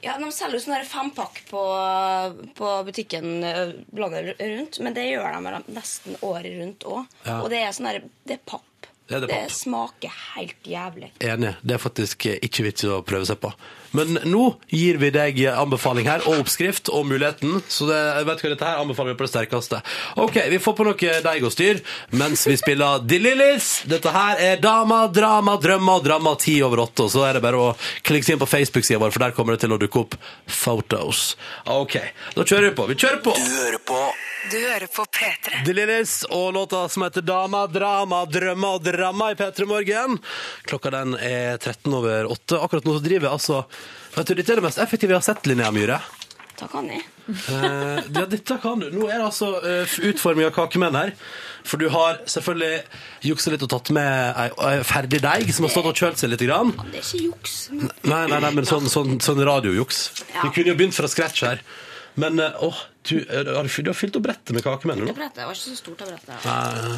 S7: Ja, De selger jo sånne der fempakk på, på butikken eh, landet rundt, men det gjør de vel nesten året rundt òg.
S2: Ja.
S7: Og det er sånn der, det er papp.
S2: Det er det
S7: Det
S2: papp.
S7: smaker helt jævlig.
S2: Enig. Det er faktisk eh, ikke vits i å prøve seg på. Men nå gir vi deg eh, anbefaling her, og oppskrift og muligheten. Så det, jeg vet hva dette her anbefaler vi på det sterkeste. OK, vi får på noe deig og styr mens vi spiller De Lillis. Dette her er Dama, drama, drømmer og drama ti over åtte. Og så er det bare å klikke seg inn på Facebook-sida vår, for der kommer det til å dukke opp photos. OK, da kjører vi på. Vi kjører på!
S3: Du hører på P3.
S2: De Lillis og låta som heter Dama, drama, drømma og dramma i P3 Morgen. Klokka den er 13 over 8. Akkurat nå så driver jeg altså Vet du, dette er det mest effektive jeg har sett, Linnea Myhre.
S7: Da kan jeg.
S2: Eh, ja, dette kan du. Nå er det altså uh, utforming av kakemenn her. For du har selvfølgelig juksa litt og tatt med ei, ei ferdig deig som har stått og kjølt seg litt. Grann.
S7: Ja, Det er ikke juks.
S2: Nei, nei, nei, men sånn, sånn, sånn radiojuks.
S7: Ja.
S2: Du kunne jo begynt fra scratch her. Men eh, åh, du, eh, har du, du har fylt opp brettet med kakemenn nå.
S7: Brettet var ikke så stort av brettet.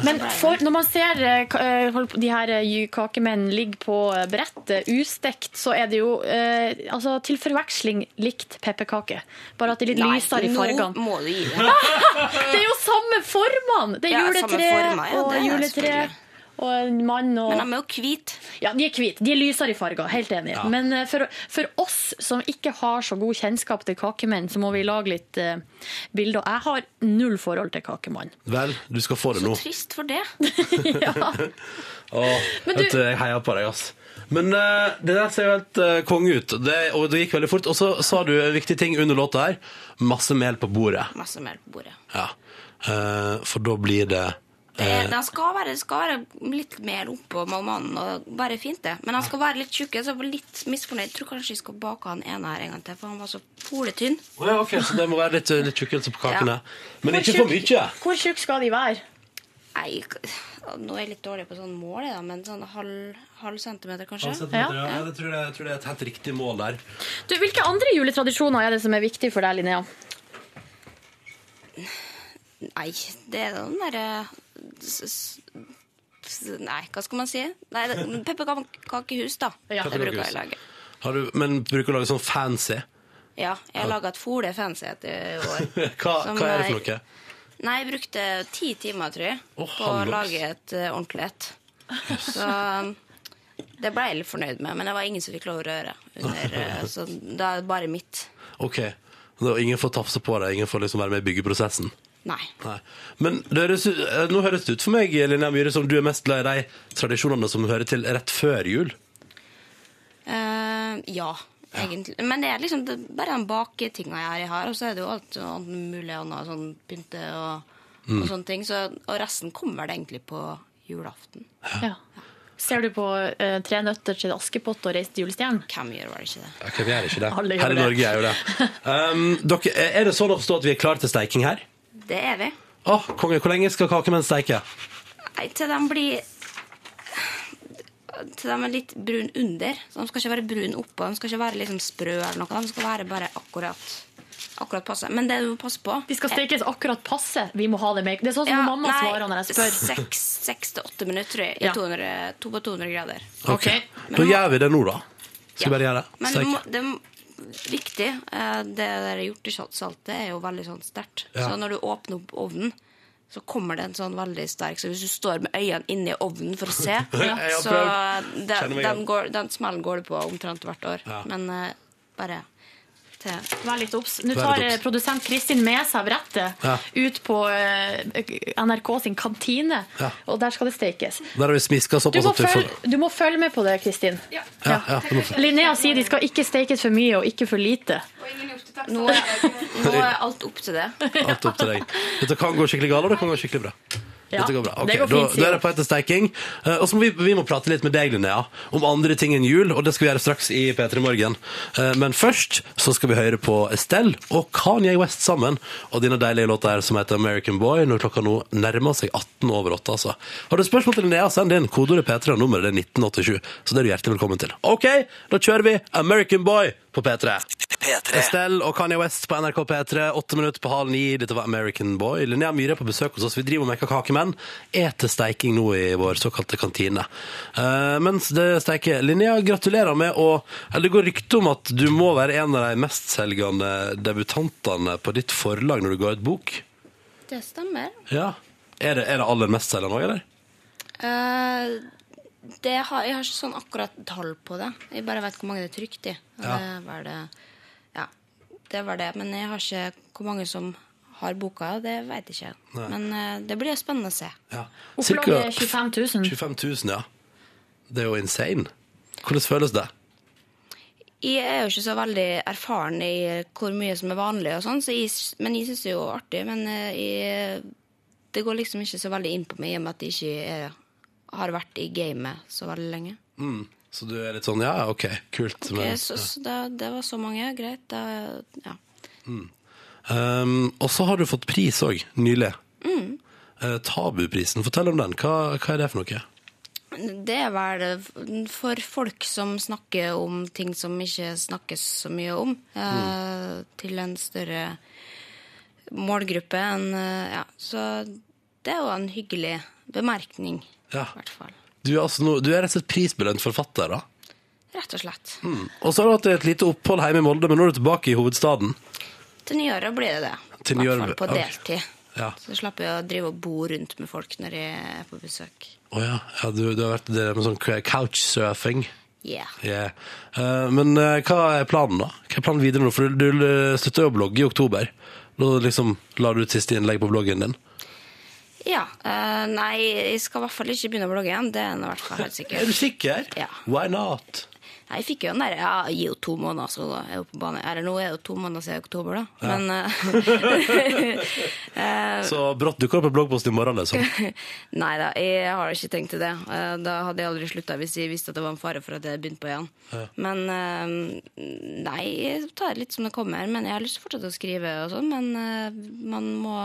S1: Men for, når man ser eh, ka- eh, hold på- de her eh, jy- kakemenn ligge på eh, brettet ustekt, så er det jo eh, altså, til forveksling likt pepperkake. Bare at det er litt lysere i fargene.
S7: Nå må du gi
S2: <laughs>
S7: det.
S1: Det er jo samme formene! Det er
S7: Ja, samme
S1: juletre
S7: former, ja,
S1: og
S7: det er
S1: juletre
S7: selvfølgelig.
S1: og en mann og
S7: Men de er jo hvite.
S1: Ja, de er hvite. De er lysere i farger. Helt enig. Men eh, for, for oss som ikke har så god kjennskap til kakemenn, så må vi lage litt eh, bilder. Jeg har null forhold til
S2: <laughs>
S1: kakemann. <laughs>
S2: Vel, du skal få det nå.
S7: Trist for det.
S1: ja.
S2: Åh,
S1: Men
S2: vet
S1: du-
S2: du, jeg heier på deg, ass. Men eh, det der ser jo helt eh, konge ut, det, og det gikk veldig fort. Og så sa du en viktig ting under låta her. Masse mel på bordet.
S7: Masse mer på bordet.
S2: Ja. Eh, for da blir det
S7: Det,
S2: Eh,
S7: er- Eh, den skal være, skal være litt mer oppå malmannen, og bare fint det. Men han skal være litt tjukk. Så jeg var litt misfornøyd. Jeg tror kanskje jeg skal bake han ene her en gang til, for han var så poletynn.
S2: Å ja, ok, Så det må være litt, litt tjukkelse på kakene.
S7: Ja.
S2: Men ikke for mye.
S1: Hvor tjukk skal de være?
S7: Nei, k- nå er jeg litt dårlig på sånn mål, jeg da, men sånn halv, halv centimeter, kanskje?
S1: Ja.
S2: jeg, tror det, jeg tror det er et helt riktig mål der.
S1: Du, hvilke andre juletradisjoner er det som er viktig for deg, Linnea?
S7: Nei, det er den derre s- s- s- Nei, hva skal man si? Nei, det- Pepperkakehus, da.
S1: Ja.
S7: Det bruker jeg å lage.
S2: Har du, men bruker du å lage sånn fancy? <laughs>
S7: Ja, jeg har laga et fole fancy et år.
S2: <laughs> Hva,
S7: Som
S2: hva er det for noe?
S7: er- Nei, jeg brukte ti timer, tror jeg,
S2: Å,
S7: på å
S2: halvdags.
S7: lage et eh, ordentlig et. Så um, det ble jeg litt fornøyd med, men det var ingen som fikk lov å røre. Under, eh, så da er det bare mitt.
S2: Ok, da, Ingen får tafse på deg, ingen får liksom være med i byggeprosessen?
S7: Nei.
S2: Nei. Men det høres, ut- eh, nå høres det ut for meg Linnea Myhre, som du er mest glad i de tradisjonene som hører til rett før jul.
S7: Eh, ja, egentlig. Men det er liksom det, er bare den baketinga jeg har, jeg har, og så er det jo alt annet mulig annet, sånn pynte og, og sånne ting. Så, og resten kommer vel egentlig på julaften.
S1: Ja. Ser du på eh, Tre nøtter til Askepott og Reis til julestjernen?
S7: Hvem gjør vel ikke det?
S2: Ja, hvem gjør ikke det?
S1: Alle gjør
S2: Hele
S1: det.
S2: Norge
S1: <laughs>
S2: gjør jo det. Um, dere, er det sånn å forstå at vi er klare til steiking her?
S7: Det er vi.
S2: Å, konge, hvor lenge skal kakemenn steike?
S7: Nei, til de blir Til de er litt brun under. Så de skal ikke være brun oppå. De skal ikke være liksom sprø eller noe. De skal være bare akkurat Akkurat passe. Men det du må passe på
S1: De skal stekes akkurat passe. Vi må ha det med. Det er sånn som mamma svarer når jeg spør.
S7: Seks seks til åtte minutter, tror jeg. I
S1: Ja.
S7: 200, to på 200 grader.
S1: Ok.
S2: Da gjør vi det nå, da. Skal vi bare gjøre det?
S7: Men det,
S2: Steike.
S7: må, det er viktig. eh, Det der hjortesaltet er jo veldig sånn sterkt.
S2: Ja.
S7: Så når du åpner opp ovnen, så kommer det en sånn veldig sterk Så hvis du står med øynene inni ovnen for å
S2: <laughs>
S7: se,
S2: Jeg har
S7: så
S2: prøvd.
S7: den,
S2: Kjenner meg
S7: den,
S2: igjen.
S7: går, den smellen går du på omtrent hvert år.
S2: Ja.
S7: Men eh, bare til
S2: <laughs>
S1: Vær litt obs. Nå
S2: Vær
S1: tar
S2: litt obs.
S1: eh, produsent Kristin med seg brettet
S2: Ja.
S1: ut på eh, NRK sin kantine,
S2: Ja.
S1: og der skal det stekes.
S2: Der har vi smiska
S1: Du
S2: såpass
S1: må,
S2: at vi får
S1: følge, du må følge med på det, Kristin.
S2: ja, ja, du må følge.
S1: Linnea sier de skal ikke stekes for mye og ikke for lite.
S7: nå er, nå er alt opp til det.
S2: Alt opp til deg. Dette kan gå skikkelig galt, og det kan gå skikkelig bra.
S1: Ja,
S2: Dette går bra. Ok,
S1: det går
S2: da,
S1: fint,
S2: da
S1: sier
S2: er det på etter steiking. Eh, og så må vi, vi må prate litt med deg, Linnea, om andre ting enn jul, og det skal vi gjøre straks i P3 Morgen. Eh, men først så skal vi høre på Estelle og Kanye West sammen, og denne deilige låta her som heter American Boy, når klokka nå nærmer seg 18 over 8, altså. Har du spørsmål til Linnea, send inn kodeordet P3 og nummeret det er 1987, så det er du hjertelig velkommen til. Ok, da kjører vi American Boy på P3. Estelle og Kanye West på NRK P3, åtte minutter på halv ni. Dette var American Boy. Linnea Myhre er på besøk hos oss. Vi driver og meker kakemenn. Eter steiking nå i vår såkalte kantine. Eh, mens det steiker Linnea, gratulerer med å Eller det går rykte om at du må være en av de mestselgende debutantene på ditt forlag når du ga ut bok.
S7: Det stemmer.
S2: Ja. Er det, er det aller mestselgende òg, eller?
S7: Eh, det har, jeg har ikke sånn akkurat tall på det. Jeg bare vet hvor mange det er trykt i. Og
S2: Ja.
S7: Det var det, ja, det var det. Men jeg har ikke hvor mange som har boka, det vet jeg ikke.
S2: Nei.
S7: Men eh, det blir spennende å se.
S2: Ja. Cirka
S1: Opplaget 25 000.
S2: 25 000, ja. Det er jo insane. Hvordan føles det?
S7: Jeg er jo ikke så veldig erfaren i hvor mye som er vanlig, og sånn, så jeg, men jeg syns det er jo artig. Men eh, jeg, det går liksom ikke så veldig inn på meg i og med at jeg ikke er, har vært i gamet så veldig lenge.
S2: Mm. Så du er litt sånn ja, ja, OK, kult. men-
S7: Ok, så, så det, det var så mange, greit. Da, ja.
S2: Um, og så har du fått pris òg, nylig. Eh, tabuprisen. Fortell om den. Hva, hva er det for noe?
S7: Det er vel eh, for folk som snakker om ting som ikke snakkes så mye om, eh,
S2: Mm.
S7: til en større målgruppe. enn, eh, ja. Så det er jo en hyggelig bemerkning,
S2: Ja.
S7: i hvert fall.
S2: Du er, altså no, du er rett og slett prisbelønt forfatter, da.
S7: Rett og slett.
S2: Og så har du hatt et lite opphold hjemme i Molde, men nå er du tilbake i hovedstaden.
S7: Til nyåret blir det det.
S2: Til
S7: I hvert
S2: nyåret,
S7: fall på
S2: ok.
S7: deltid.
S2: Ja.
S7: Så slapper jeg å drive og bo rundt med folk når jeg er på besøk.
S2: Å ja. ja du, du har vært det med sånn couchsurfing.
S7: Yeah.
S2: Yeah. Eh, men eh, hva er planen, da? Hva er planen videre nå? For du, du slutta jo å blogge i oktober. Nå liksom la du ut siste innlegg på bloggen din.
S7: Ja. eh, nei, jeg skal i hvert fall ikke begynne å blogge igjen. Det er nå i hvert fall
S2: <laughs>
S7: helt
S2: Er du
S7: sikkert.
S2: sikker?
S7: Ja.
S2: Why not?
S7: Nei, Jeg fikk jo den der ja, Gi jo to måneder, så er jeg jo på banen. Eller nå er det jo to måneder siden oktober, da. Men eh, eh,
S2: Så brått dukker det opp en bloggpost i morgen, liksom.
S7: <laughs> Nei da, jeg har ikke tenkt til det. Eh, Da hadde jeg aldri slutta hvis jeg visste at det var en fare for at jeg begynte på igjen. Men eh, nei, jeg tar det litt som det kommer. Men jeg har lyst til å fortsette å skrive og sånn. Men eh, man må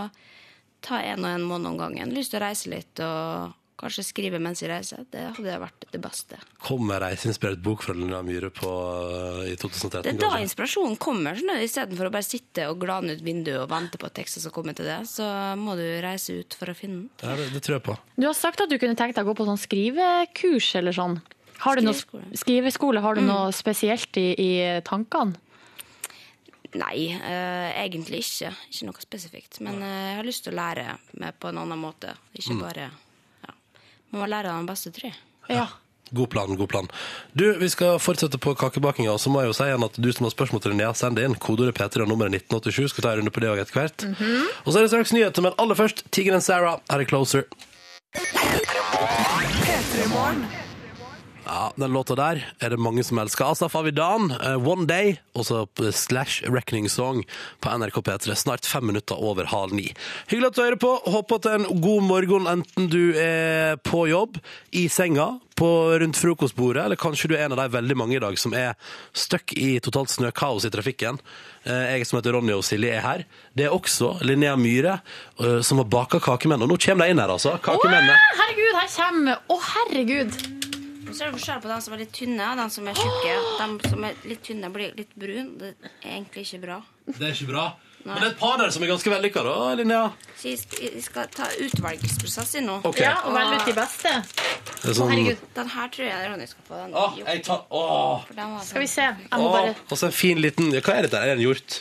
S7: ta en og en måned om gangen. Lyst til å reise litt og kanskje skrive mens jeg reiser. Det hadde vært det beste.
S2: Kom med reiseinspirert bok fra Lilla Myhre på, eh, i 2013.
S7: Det er da
S2: kanskje?
S7: inspirasjonen kommer. Sånn, Istedenfor å bare sitte og glane ut vinduet og vente på at tekster skal komme til det, så må du reise ut for å finne den.
S2: Ja, det, det tror jeg på.
S1: Du har sagt at du kunne tenkt deg å gå på sånn skrivekurs eller sånn. Har du noe,
S7: Skriveskole.
S1: skriveskole, har du noe spesielt i, i tankene?
S7: Nei, eh, egentlig ikke. Ikke noe spesifikt. Men eh, jeg har lyst til å lære meg på en annen måte. Ikke bare ja. Man må lære av den beste, tror jeg.
S1: Ja.
S2: God plan, god plan. Du, vi skal fortsette på kakebakinga, og så må jeg jo si igjen at du som har spørsmål til Linnea, send det inn. Kodeordet P3 og nummeret 1987. Skal ta en runde på det òg etter hvert.
S7: Mhm.
S2: Og så er det straks nyheter, men aller først Tigeren Sarah. Her er Closer. Ja, den låta der er det mange som elsker. Altså, Asaf Avidan, eh, One Day, og så p- Slash Reckoning Song på NRK P3. Snart fem minutter over halv ni. Hyggelig at du hører på. Håper at det er en god morgen enten du er på jobb, i senga, på, rundt frokostbordet, eller kanskje du er en av de veldig mange i dag som er stuck i totalt snøkaos i trafikken. Eh, Jeg som heter Ronny og Silje er her. Det er også Linnea Myhre eh, som har baka kakemenn. Og nå kommer de inn her, altså. Kakemennene.
S1: Herregud, her kommer Å, herregud!
S7: Og så er det forskjell på den som er litt tynne, og den som er tjukke. De som er litt tynne, blir litt brun. Det er egentlig ikke bra.
S2: Det er ikke bra. Men det er et par der som er ganske vellykka, da, Linnea.
S7: Så jeg sk- jeg skal ta utvalgsprosess i nå.
S2: Ok.
S1: Ja, og velg ut de beste.
S2: Det er sånn,
S1: Herregud.
S7: Den her tror jeg Ronny skal få. Den.
S2: Å, jeg tar Å!
S7: For den, var
S1: Skal vi
S7: sånn.
S1: se. Jeg må
S2: å,
S1: bare
S2: Og så en fin liten Hva er dette? her? Er det en hjort?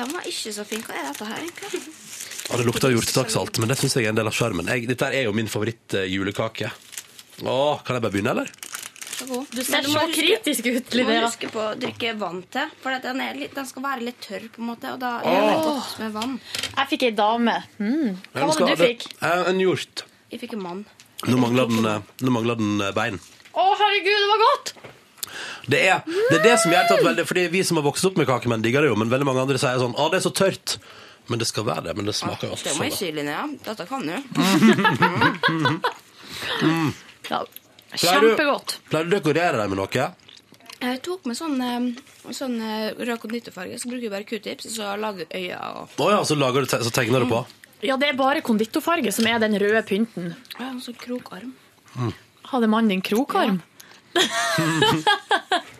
S7: den var ikke så fin. Hva er dette her, egentlig?
S2: Å, det lukter hjortesakssalt, men det syns jeg er en del av sjarmen. Jeg- Dette her er jo min eh, favorittjulekake. Å, kan jeg bare begynne, eller?
S7: Så god.
S1: Du
S7: Men
S1: ser så
S7: huske-
S1: kritisk ut,
S7: Du må
S1: Linnea.
S7: huske på å drikke vann til, for at den, er litt, den skal være litt tørr, på en måte. Og da gjør det
S2: Åh.
S7: godt med vann.
S1: Jeg fikk ei dame. Mm. Hva var
S2: Skal-
S1: det du fikk?
S2: Eh, En hjort.
S7: Jeg fikk en mann.
S2: Nå mangler den, eh, nå mangler den eh, bein.
S1: Å, herregud, det var godt!
S2: Det er, det er det som jeg har tatt veldig Fordi vi som har vokst opp med kakemenn, digger det jo, men veldig mange andre sier sånn Å, det er så tørt. Men det skal være det. Men det
S1: Ah,
S2: smaker jo alt
S7: Det må
S2: sånn.
S7: jeg
S2: da.
S7: si, Linnea. Dette kan du.
S1: Ja.
S2: Pleier du-
S1: Kjempegodt.
S2: Pleier du å dekorere deg med noe?
S7: Jeg tok med sånn, eh, sånn eh, rød konditorfarge, så bruker jeg bare q-tips, så lager jeg øya og
S2: Å ja, så, lager du, te- så tegner du på.
S1: Ja, det er bare konditorfarge som er den røde pynten.
S7: Ja, en sånn krokarm.
S1: Hadde mannen din krokarm? <laughs>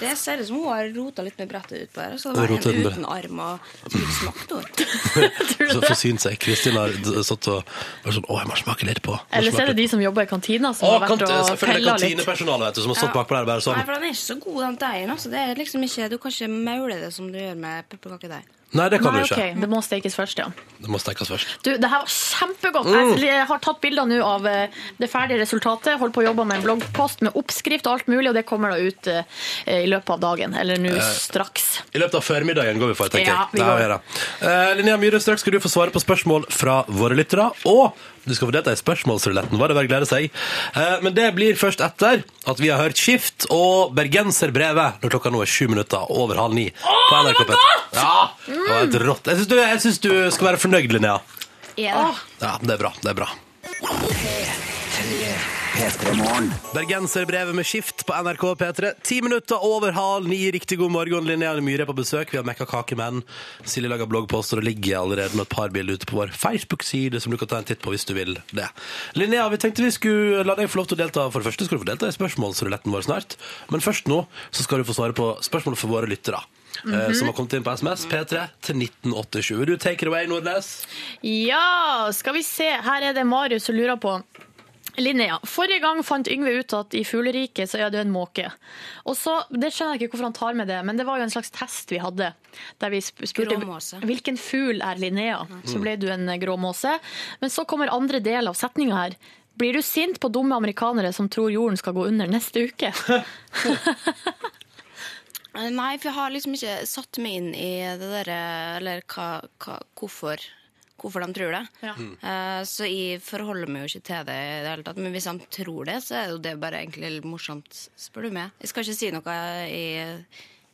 S7: Det ser ut som hun har rota litt med brettet utpå her. Så det
S2: Hun
S7: var
S2: rotet
S7: en
S2: med-
S7: uten arm og så fikk smakt noe.
S1: Tror
S2: Så
S1: <laughs> du det?
S2: forsynt seg. Kristin har d- satt og vært sånn Å, jeg må smake litt på. Jeg må
S1: Eller så
S2: smake
S1: er det
S2: litt
S1: de som jobber i kantina,
S2: på.»
S1: som har
S2: Å,
S1: vært
S2: kant,
S1: og
S2: selvfølgelig
S1: pella litt.
S2: kantinepersonalet vet du, som har stått
S7: Ja.
S2: bakpå der og bare
S7: Nei,
S2: sånn
S7: for den er ikke så god, den deigen. Altså. Det er liksom ikke, du kan ikke maule det som du gjør med pepperkakedeig.
S2: Nei, det kan
S1: Nei,
S2: du ikke.
S1: ok, Det må stekes først, ja.
S2: Det må stekes først.
S1: Du, det her var kjempegodt.
S2: Mm.
S1: Jeg- Jeg har tatt bilder nå av eh, det ferdige resultatet. Holder på å jobbe med en bloggpost med oppskrift og alt mulig, og det kommer da ut eh, i løpet av dagen. Eller
S2: Eh.
S1: nå straks.
S2: I løpet av formiddagen går vi for, tenker
S1: Ja, vi
S2: jeg. Det har
S1: går.
S2: vi gjør det. Eh, Linnea Myhre, straks skal du få svare på spørsmål fra våre lyttere. Og du skal få delta i spørsmålsruletten. Hva er det bare å glede seg? Eh, men det blir først etter at vi har hørt Skift og Bergenserbrevet når klokka nå er sju minutter over halv ni. På NRK P3. Ja, det var helt rått. Jeg syns du, jeg synes du skal være fornøyd, Linnea.
S1: Åh,
S2: Ja, det er bra. Det er bra. Bergenserbrevet med skift på NRK P3. Ti minutter over halv ni. Riktig god morgen. Linnea Myhre er på besøk. Vi har mekka kakemenn. Silje lager bloggposter og det ligger allerede med et par bilder ute på vår Facebook-side, som du kan ta en titt på hvis du vil det. Linnea, vi tenkte vi skulle la deg få lov til å delta. For det første skal du få delta i spørsmålsruletten vår snart. Men først nå så skal du få svare på spørsmål for våre lyttere. eh, Som har kommet inn på SMS P3 til 1987. Vil du take it away, Nordnes?
S1: Ja, skal vi se. Her er det Marius som lurer på. Linnea, forrige gang fant Yngve ut at i fugleriket så er det en måke. Og så, Det skjønner jeg ikke hvorfor han tar med det, men det var jo en slags test vi hadde. Der vi sp- spurte
S7: Gråmåse.
S1: hvilken fugl er Linnea. Så ble du en eh, gråmåse. Men så kommer andre del av setninga her. Blir du sint på dumme amerikanere som tror jorden skal gå under neste uke?
S7: Eh, Nei, for jeg har liksom ikke satt meg inn i det derre Eller hva, hva, hvorfor, hvorfor de tror det.
S1: Ja.
S7: Eh, så jeg forholder meg jo ikke til det i det hele tatt. Men hvis de tror det, så er jo det bare egentlig litt morsomt, spør du meg. Jeg skal ikke si noe i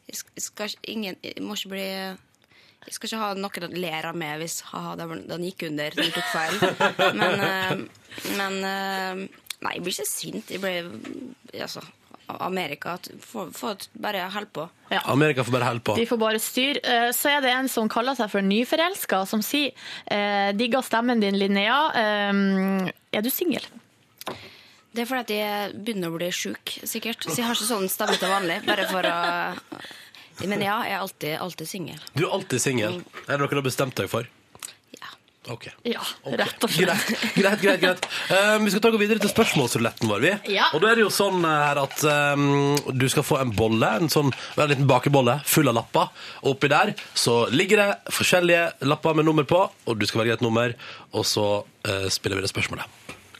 S7: Jeg, sk- jeg skal ikke, ingen, jeg må ikke bli jeg skal ikke ha noen å lære av meg hvis haha, den, den gikk under, den tok feil. Men, eh, men eh, Nei, jeg blir ikke sint. Jeg blir Altså, Amerika at- få- få Bare hold på.
S2: Amerika får bare holde på.
S1: De får bare styr. Eh, Så er det en som kaller seg for nyforelska, som sier eh, digga stemmen din, Linnea. Eh, Er du singel?
S7: Det er fordi at jeg begynner å bli sjuk, sikkert. Så jeg har ikke sånn stemme til vanlig. Bare for å Men ja, jeg er alltid, alltid singel.
S2: Du er alltid singel. Er det noe du har bestemt deg for?
S7: Ja.
S2: Ok.
S1: Ja,
S2: Ok.
S1: rett og slett.
S2: Greit, <laughs> greit, greit.
S1: <laughs>
S2: greit. Um, vi skal ta gå videre til spørsmålsruletten vår. vi.
S1: Ja.
S2: Og da er det jo sånn eh, her at um, du skal få en bolle, en sånn en liten bakebolle full av lapper. Og oppi der så ligger det forskjellige lapper med nummer på, og du skal velge et nummer, og så eh, spiller vi det spørsmålet.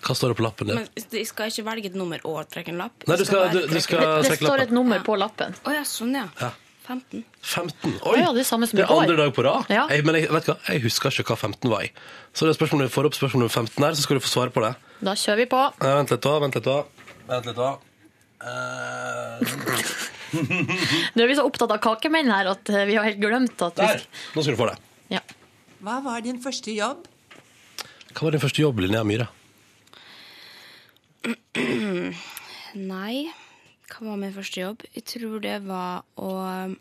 S2: Hva står det på lappen din?
S7: Men jeg skal ikke velge et nummer og trekke en lapp.
S2: Nei, du skal, du,
S7: bare
S2: du
S7: trekke-
S2: skal
S1: Det
S2: trekke
S1: står et
S2: lappen.
S1: nummer på lappen.
S7: Å ja, sånn ja.
S2: Ja.
S7: 15.
S2: 15. Oi!
S1: Å ja, det er samme som i
S2: er andre
S1: går.
S2: dag på rad.
S1: Ja.
S2: Jeg, men jeg, vet du hva? jeg husker ikke hva 15 var i. Så det er spørsmålet når vi får opp spørsmål nummer 15 her, så skal du få svare på det.
S1: Da kjører vi på.
S2: Nei, vent litt da, vent litt da. Vent litt da. Eh,
S1: Nå er vi så opptatt av kakemenn her at eh, vi har helt glemt at vi
S2: der! Nå skal du få det.
S1: ja.
S8: Hva var din første jobb?
S2: Hva var din første jobb, Linnea Myhre?
S7: Nei, hva var min første jobb? Jeg tror det var å um,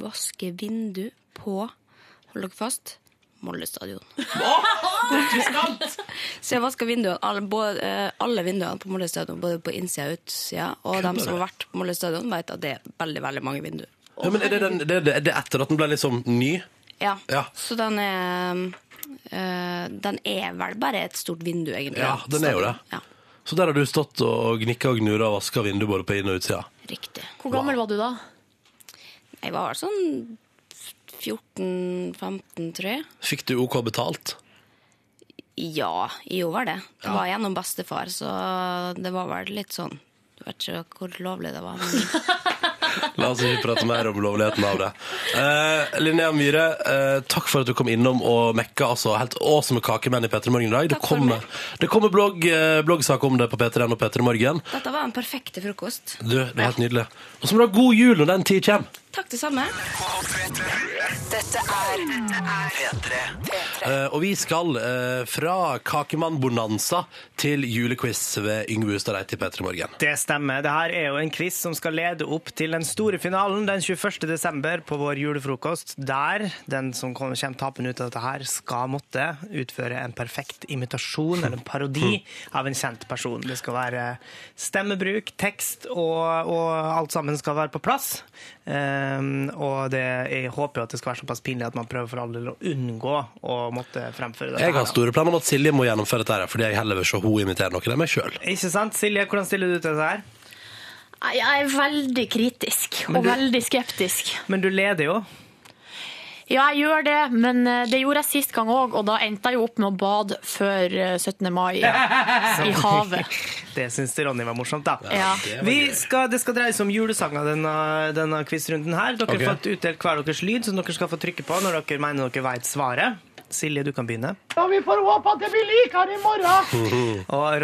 S7: vaske vindu på Hold dere fast. Molde stadion. <laughs> Så jeg vaska vinduene, alle, både, eh, alle vinduene på Molde stadion, både på innsida og utsida. Og de som har vært på Molde stadion, vet at det er veldig veldig mange vinduer.
S2: ja, men er det, den, det, det, er det etter at den ble liksom ny?
S7: Ja.
S2: Ja.
S7: Så den er um, eh, Den er vel bare et stort vindu, egentlig.
S2: Ja, den er jo det.
S7: Ja,
S2: Så der har du stått og gnikka og gnura og vaska vinduet både på inn- og utsida.
S7: Riktig.
S1: Hvor gammel var du da?
S7: Jeg var vel sånn 14-15, tror jeg.
S2: Fikk du OK betalt?
S7: Ja, jo var det. Det var gjennom bestefar, så det var vel litt sånn Jeg vet ikke hvor lovlig det var. Men
S2: La oss ikke prate mer om lovligheten av det. Eh, Linnea Myhre, eh, takk for at du kom innom og mekka. Altså, helt awesome kakemenn i P3 Morgen i dag. Det
S7: Takk for
S2: kommer,
S7: meg.
S2: det kommer blogg, eh, bloggsak om det på P3N og P3 Morgen.
S7: dette var den perfekte frokost.
S2: Du, det er helt nydelig. Og så må du ha god jul når den tid kommer.
S7: Takk, det samme.
S3: Dette er P3.
S2: Eh, og vi skal eh, fra Kakemann-bonanza til julequiz ved Yngve Hustad Reit i P3 Morgen.
S4: Det stemmer. Dette er jo en quiz som skal lede opp til den store finalen den 21. desember på vår julefrokost, der den som kommer tapende ut av dette her, skal måtte utføre en perfekt imitasjon eller en
S2: <laughs>
S4: parodi
S2: Hmm.
S4: av en kjent person. Det skal være stemmebruk, tekst og, og alt sammen skal være på plass. Ehm, og det, jeg håper jo at det skal være såpass pinlig at man prøver for all del å unngå å måtte fremføre dette.
S2: Jeg
S4: her,
S2: har
S4: da.
S2: store planer om at Silje må gjennomføre dette, her, fordi jeg heller vil se hun imitere noen av meg sjøl.
S4: Ikke sant? Silje, hvordan stiller du til dette her?
S1: Nei, Jeg er veldig kritisk og veldig skeptisk.
S4: Men du leder jo.
S1: Ja, jeg gjør det, men eh, det gjorde jeg sist gang òg, og da endte jeg jo opp med å bade før eh, 17. mai
S2: <laughs>
S1: i havet.
S4: Det syns Ronny var morsomt, da.
S1: Ja.
S2: det var
S4: Vi
S2: gøy.
S4: skal, det skal dreie seg om julesanger denne, denne quizrunden her. Dere
S2: Ok.
S4: har fått utdelt hver deres lyd, som dere skal få trykke på når dere mener dere vet svaret. Silje, du kan begynne. Og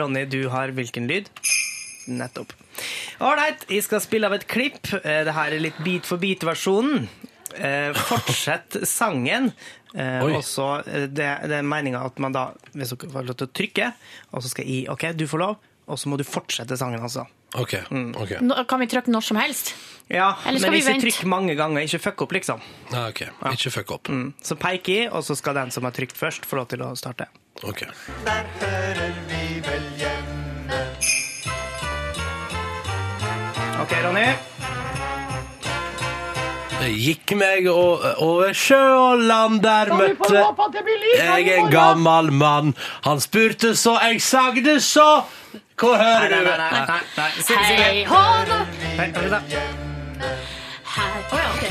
S4: Ronny, du har hvilken lyd? Nettopp. Ålreit, jeg skal spille av et klipp. Eh, Det her er litt bit for bit-versjonen. Eh, fortsett sangen. Eh,
S2: Oi.
S4: og så eh, det, det er meninga at man da, hvis dere får lov til å trykke, og så skal jeg OK, du får lov, og så må du fortsette sangen, altså.
S2: OK. ok.
S4: Mm.
S1: Nå- Kan vi trykke når som helst?
S4: Ja,
S1: Eller skal
S4: men
S1: vi
S4: ikke
S1: vente?
S4: trykk mange ganger. Ikke fuck opp, liksom.
S2: Ja, ok. Ikke fuck opp.
S4: Så peik i, og så skal den som har trykt først, få lov til å starte.
S2: Ok.
S4: OK, Ronny.
S2: Det gikk meg o- over sjø og land, der møtte jeg en gammel mann. Han spurte så, jeg sagde så. Hvor hører du
S4: nei. nei. Silje, Silje.
S1: Hei, hå,
S4: Hei, vent da.
S1: Her. Å ja, ok.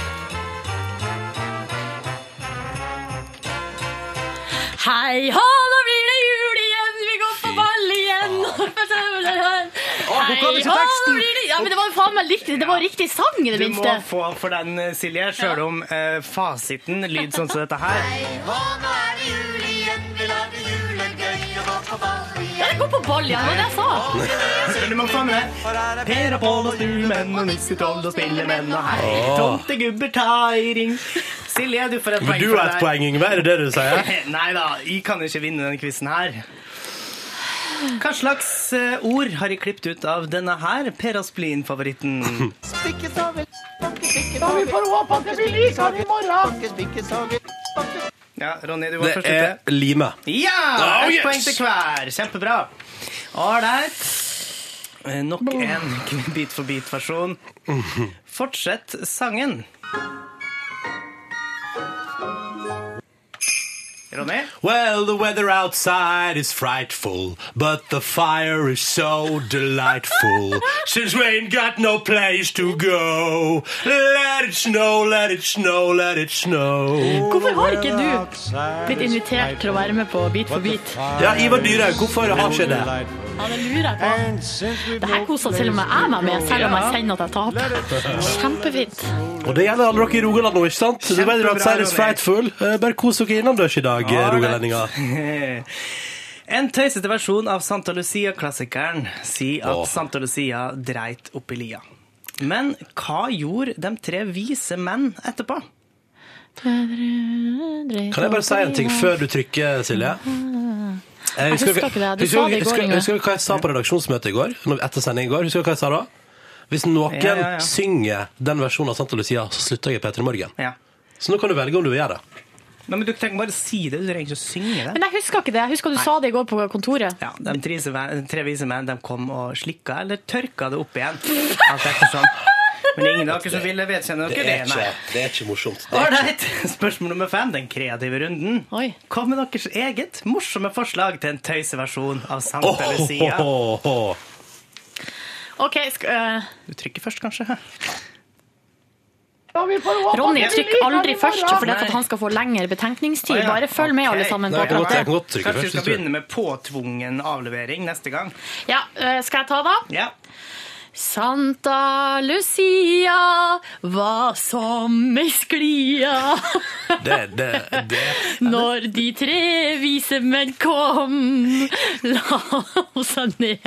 S1: Hei hå, nå blir det jul igjen, vi går på ball igjen.
S4: hun kan
S1: Hei
S4: ikke
S1: hå, nå
S4: teksten.
S1: blir det Ja, men det var jo faen meg likt, det var riktig sang, i det
S4: Du må
S1: minste.
S4: få for den, Silje, sjøl om eh, fasiten lyd sånn som dette her.
S1: Ja, det går på ball igjen, det var det jeg sa.
S4: Men du må få med det. Per og Pål og Stuemenn og Nissetroll og Spillemenn og hei, tomtegubber tar i ring. Silje, du får et
S2: Men
S4: poeng
S2: du
S4: for
S2: har et poeng, Yngve. Er det det du sier?
S4: <laughs> Nei da, jeg kan jo ikke vinne denne quizen her. Hva slags eh, ord har jeg klippet ut av denne her Per Asplin-favoritten? Ja, Ronny, du var
S2: Det
S4: først ute.
S2: er lime.
S4: Ja!
S2: Oh,
S4: ett
S2: yes!
S4: poeng til hver. Kjempebra. Ålreit. Eh, Nok en <laughs> bit for bit-versjon. Fortsett sangen. Ronny?
S2: Well, the weather outside is frightful, but the fire is so <laughs> delightful. Since we ain't got no place to go, let it snow, let it snow, let it snow.
S1: Hvorfor har ikke du blitt invitert til å være med på Bit for bit?
S2: Ja, Ivar Dyrhaug, hvorfor har ikke det?
S1: Ja, det lurer jeg på. Det her koser til og med jeg meg med, selv om jeg kjenner at jeg taper. Kjempefint.
S2: Og det gjelder alle dere i Rogaland nå, ikke sant? The weather
S4: Kjempebra,
S2: outside is
S4: Ronny.
S2: frightful. Eh, Bare kos dere innendørs i dag, eh,
S4: Alright.
S2: rogalendinger.
S4: <laughs> En tøysete versjon av Santa Lucia-klassikeren sier at
S2: Åh.
S4: Santa Lucia dreit oppi lia. Men hva gjorde de tre vise menn etterpå?
S2: Kan jeg bare si en ting før du trykker,
S1: <laughs>
S2: Silje? Jeg
S1: husker ikke det. Du sa det i går,
S2: husker,
S1: Inge.
S2: husker du hva jeg sa på redaksjonsmøtet i går? Når- Etter sending i går, husker du hva jeg sa da? Hvis noen
S4: Ja, ja, ja.
S2: synger den versjonen av Santa Lucia, så slutter jeg i P3 Morgen.
S4: Ja.
S2: Så nå kan du velge om du vil gjøre det.
S4: Nei, men Du trenger bare å si det, du trenger ikke å synge det.
S1: Men jeg husker ikke det. Jeg husker du sa det i går på kontoret.
S4: Ja, de tre, de tre vise menn de kom og slikka eller tørka det opp igjen. Alt ettersom. Men ingen av dere som ville vedkjenne dere det. nei.
S2: det er ikke morsomt. Det er
S4: Ålreit, spørsmål nummer fem, den kreative runden.
S1: Oi.
S4: Kom med deres eget morsomme forslag til en tøyseversjon av Santa
S2: ikke-
S4: Lucia.
S2: Åhåhåhå.
S1: OK, sk øh,
S4: Du trykker først, kanskje?
S1: Ronny, trykk aldri først, for det er for at han skal få lengre
S4: Å,
S1: betenkningstid.
S4: ja.
S1: Bare følg med,
S4: Ok.
S1: alle sammen.
S2: Nei,
S1: på
S2: jeg kan godt- jeg
S1: pratet.
S2: kan godt trykke først,
S4: Kanskje du skal
S2: hvis du-
S4: begynne med påtvungen avlevering neste gang.
S1: Ja, øh, skal jeg ta, da?
S4: Ja.
S1: Santa Lucia var som ei sklia <laughs>
S2: Det, det, <laughs> det.
S1: når de tre vise menn kom. La hun seg ned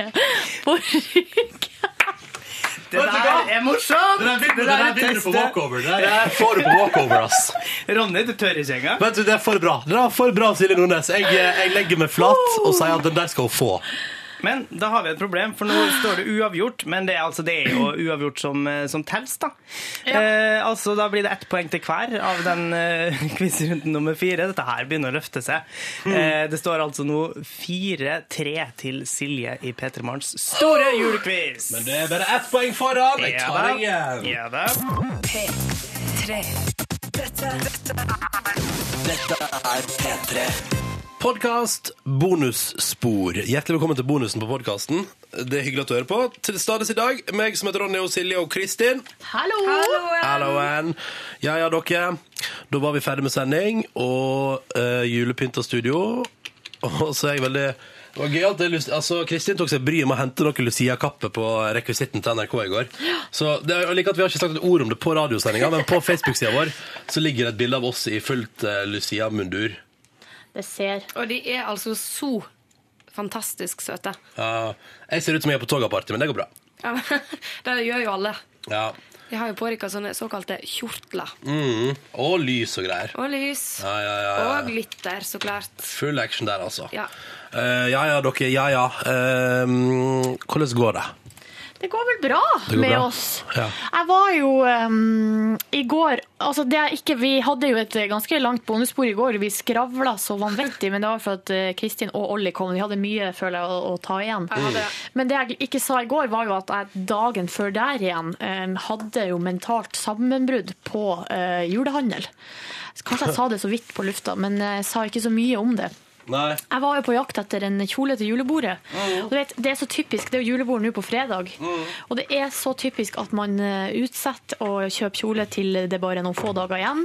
S1: på ryggen.
S4: Det
S2: Vet du hva?
S4: der er morsomt!
S2: Det
S4: der
S2: der
S4: er
S2: vinner du på
S4: testet.
S2: walkover. Det der får du på walkover, ass.
S4: Ronny, du tør ikke engang.
S2: Vet du, det er for bra. Det er for bra, Silje Nordnes. Jeg, eh, jeg legger meg flat og sier at den der skal hun få.
S4: Men da har vi et problem, for nå står det uavgjort. Men det er, altså, det er jo uavgjort som, eh, som telles, da. Eh, altså, da blir det ett poeng til hver av den eh, <laughs> quizrunden nummer fire. Dette her begynner å løfte seg. Eh, det står altså nå 4-3 til Silje i P3 Morgens store julequiz.
S2: Men det er bare ett poeng foran. Jeg
S4: Ja
S2: tar
S4: da.
S2: deg igjen.
S4: Ja da.
S3: P3. Dette, dette er
S2: På Podkast bonusspor. Hjertelig velkommen til bonusen på podkasten. Det er hyggelig at du hører på. Til stades i dag, meg som heter Ronny og Silje og Kristin.
S1: Hallo!
S2: Hallo, Ann. Ja, ja, dere. Da var vi ferdig med sending og uh, julepynt og studio. Og så er jeg veldig det var gøy at det, Lucia- altså, Kristin tok seg bryet med å hente noe Lucia-kappe på rekvisitten til NRK i går. Så det, er- jeg liker at Vi har ikke sagt et ord om det på radiosendinga, men på Facebook-sida vår så ligger det et bilde av oss i fullt eh, Lucia-mundur.
S1: Det ser
S9: Og de er altså så fantastisk søte.
S2: Ja, jeg ser ut som jeg er på togaparty, men det går bra.
S9: Ja, <laughs> det gjør jo alle.
S2: Ja.
S9: De har jo på seg sånne såkalte kjortler.
S2: Mm. Og lys og greier.
S9: Og lys.
S2: Ja, ja, ja, ja.
S9: Og glitter, så klart.
S2: Full action der, altså.
S9: Ja.
S2: Eh, ja, ja, dere. Ja, ja. Eh, hvordan går det?
S1: Det går vel bra
S2: går
S1: med
S2: bra.
S1: oss.
S2: Ja.
S1: Jeg var jo um, i går altså det er ikke, Vi hadde jo et ganske langt bonusspor i går. Vi skravla så vanvittig, men det var for at eh, Kristin og Olli kom. Vi hadde mye føler jeg, å, å ta igjen.
S9: Jeg hadde det.
S1: Men det jeg ikke sa i går, var jo at jeg dagen før der igjen eh, hadde jo mentalt sammenbrudd på eh, julehandel. Så Kanskje jeg sa det så vidt på lufta, men eh, jeg sa ikke så mye om det.
S2: Nei.
S1: Jeg var jo på jakt etter en kjole til julebordet. Og du vet, det er så typisk, det er jo julebord nå på fredag. Og det er så typisk at man eh, utsetter å kjøpe kjole til det er bare noen få dager igjen.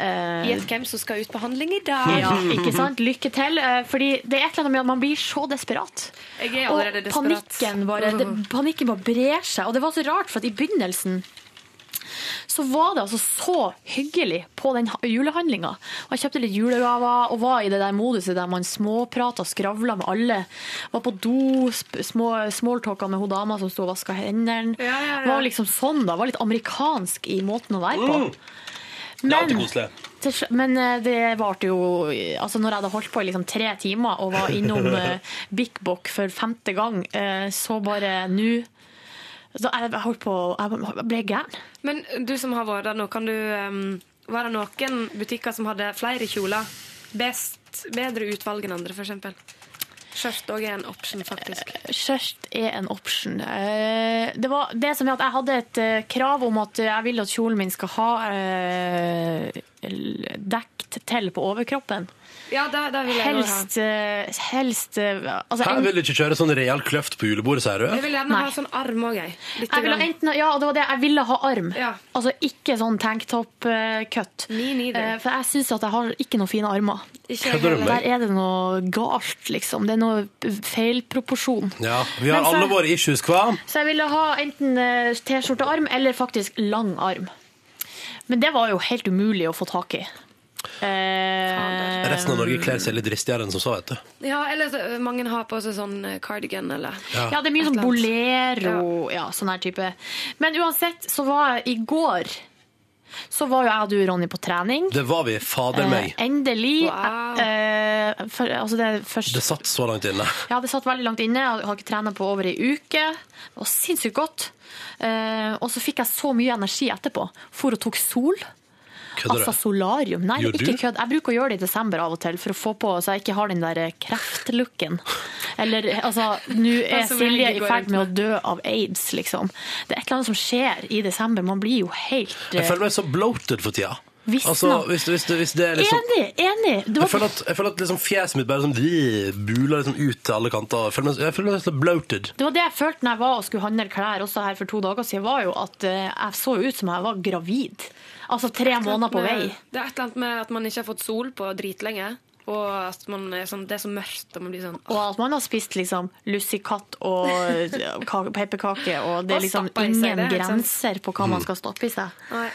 S1: Eh,
S9: Gjett hvem som skal ut på handling i dag.
S1: ja, ikke sant? Lykke til. eh, Fordi det er et eller annet med at man blir så desperat.
S9: Jeg er
S1: Og
S9: allerede desperat. Mm.
S1: panikken bare, det, panikken bare brer seg. Og det var så rart, for at i begynnelsen så var det altså så hyggelig på den ha- julehandlinga. Og Jeg kjøpte litt julegaver og var i det der moduset der man småprata, skravla med alle. Var på do, sp- små smalltalka med hun dama som sto og vaska hendene.
S9: Ja, ja, ja.
S1: Var liksom sånn, da. Var litt amerikansk i måten å være på.
S2: Mm. Det er alltid koselig.
S1: Til sl- Men eh, det varte jo Altså når jeg hadde holdt på i liksom tre timer og var innom
S2: <laughs>
S1: eh, Big Bock for femte gang, eh, så bare nå så jeg, jeg holdt på Jeg ble gæren.
S9: Men du som har vært der nå, kan du um, Var det noen butikker som hadde flere kjoler? Best, bedre utvalg enn andre, f.eks.? Skjørt òg er en option, faktisk.
S1: Skjørt er en option. Eh, Det var det som gjør at jeg hadde et eh, krav om at jeg vil at kjolen min skal ha eh, l- dekt til på overkroppen.
S9: Ja, det, det vil jeg også ha.
S1: Helst, eh, helst eh, altså
S2: Her
S1: en-
S2: vil du ikke kjøre sånn real kløft på julebordet, sier
S9: Jeg
S2: du?
S9: vil gjerne
S1: Nei.
S9: ha sånn arm òg, jeg. Litt
S1: Jeg ville
S9: grann.
S1: enten, ja, det var det. Jeg ville ha arm.
S9: Ja.
S1: Altså ikke sånn tanktop-cut.
S9: Me neither.
S1: Eh, for jeg syns at jeg har ikke noen fine armer.
S9: Ikke
S2: Kødder du med
S9: heller.
S2: meg?
S1: Der er det noe galt, liksom. Det er noe feilproporsjon.
S2: Ja, Vi har
S1: Men så-
S2: alle våre issues, hva?
S1: Så jeg ville ha enten eh, T-skjortearm eller faktisk lang arm. Men det var jo helt umulig å få tak i. Eh,
S2: Resten av Norge kler seg litt dristigere enn som så, vet du.
S9: Ja, eller så, ø, mange har på seg sånn ø, cardigan eller
S2: Ja.
S1: Ja, det er mye sånn
S9: Et eller
S1: bolero, ja, sånn her type. Men uansett, så var jeg i går Så var jo jeg og du, Ronny, på trening.
S2: Det var vi. Fader meg.
S1: Eh, endelig.
S9: Wow.
S1: Eh, for, altså det, er først,
S2: Det satt så langt inne.
S1: jeg hadde satt veldig langt inne, jeg har ikke trent på over ei uke. Det var sinnssykt godt. Eh, og så fikk jeg så mye energi etterpå. For og tok sol.
S2: Kødder
S1: altså
S2: du?
S1: solarium. Nei,
S2: Gjorde
S1: ikke
S2: du?
S1: kødd. Jeg bruker å gjøre det i desember av og til for å få på så jeg ikke har den der eh, kreftlooken. Eller altså,
S9: <laughs>
S1: nå er
S9: som
S1: Silje
S9: Helge
S1: i
S9: går
S1: ferd
S9: rundt
S1: med å dø av aids, liksom. Det er et eller annet som skjer i desember. Man blir jo helt
S2: Jeg
S1: eh,
S2: føler meg så bloated for tida.
S1: Visna.
S2: Altså, hvis, hvis, hvis det er liksom
S1: Enig! Enig! Det
S2: jeg
S1: var
S2: føler at, jeg føler at liksom fjeset mitt bare sånn, de buler liksom ut til alle kanter. Jeg føler meg, jeg føler meg så bloated.
S1: Det var det jeg følte når jeg var og skulle handle klær også her for to dager siden, var jo at eh, jeg så jo ut som jeg var gravid. Altså tre måneder på vei.
S9: Det er et eller annet med at man ikke har fått sol på dritlenge, og at man er sånn, det er så mørkt, og man blir sånn
S1: Og at man har spist liksom lussekatt og eh, ka- pepperkake, og det
S9: Og
S1: er liksom
S9: stappa i seg
S1: ingen
S9: det, ikke sant?
S1: grenser på hva man skal stoppe i seg.
S9: Nei.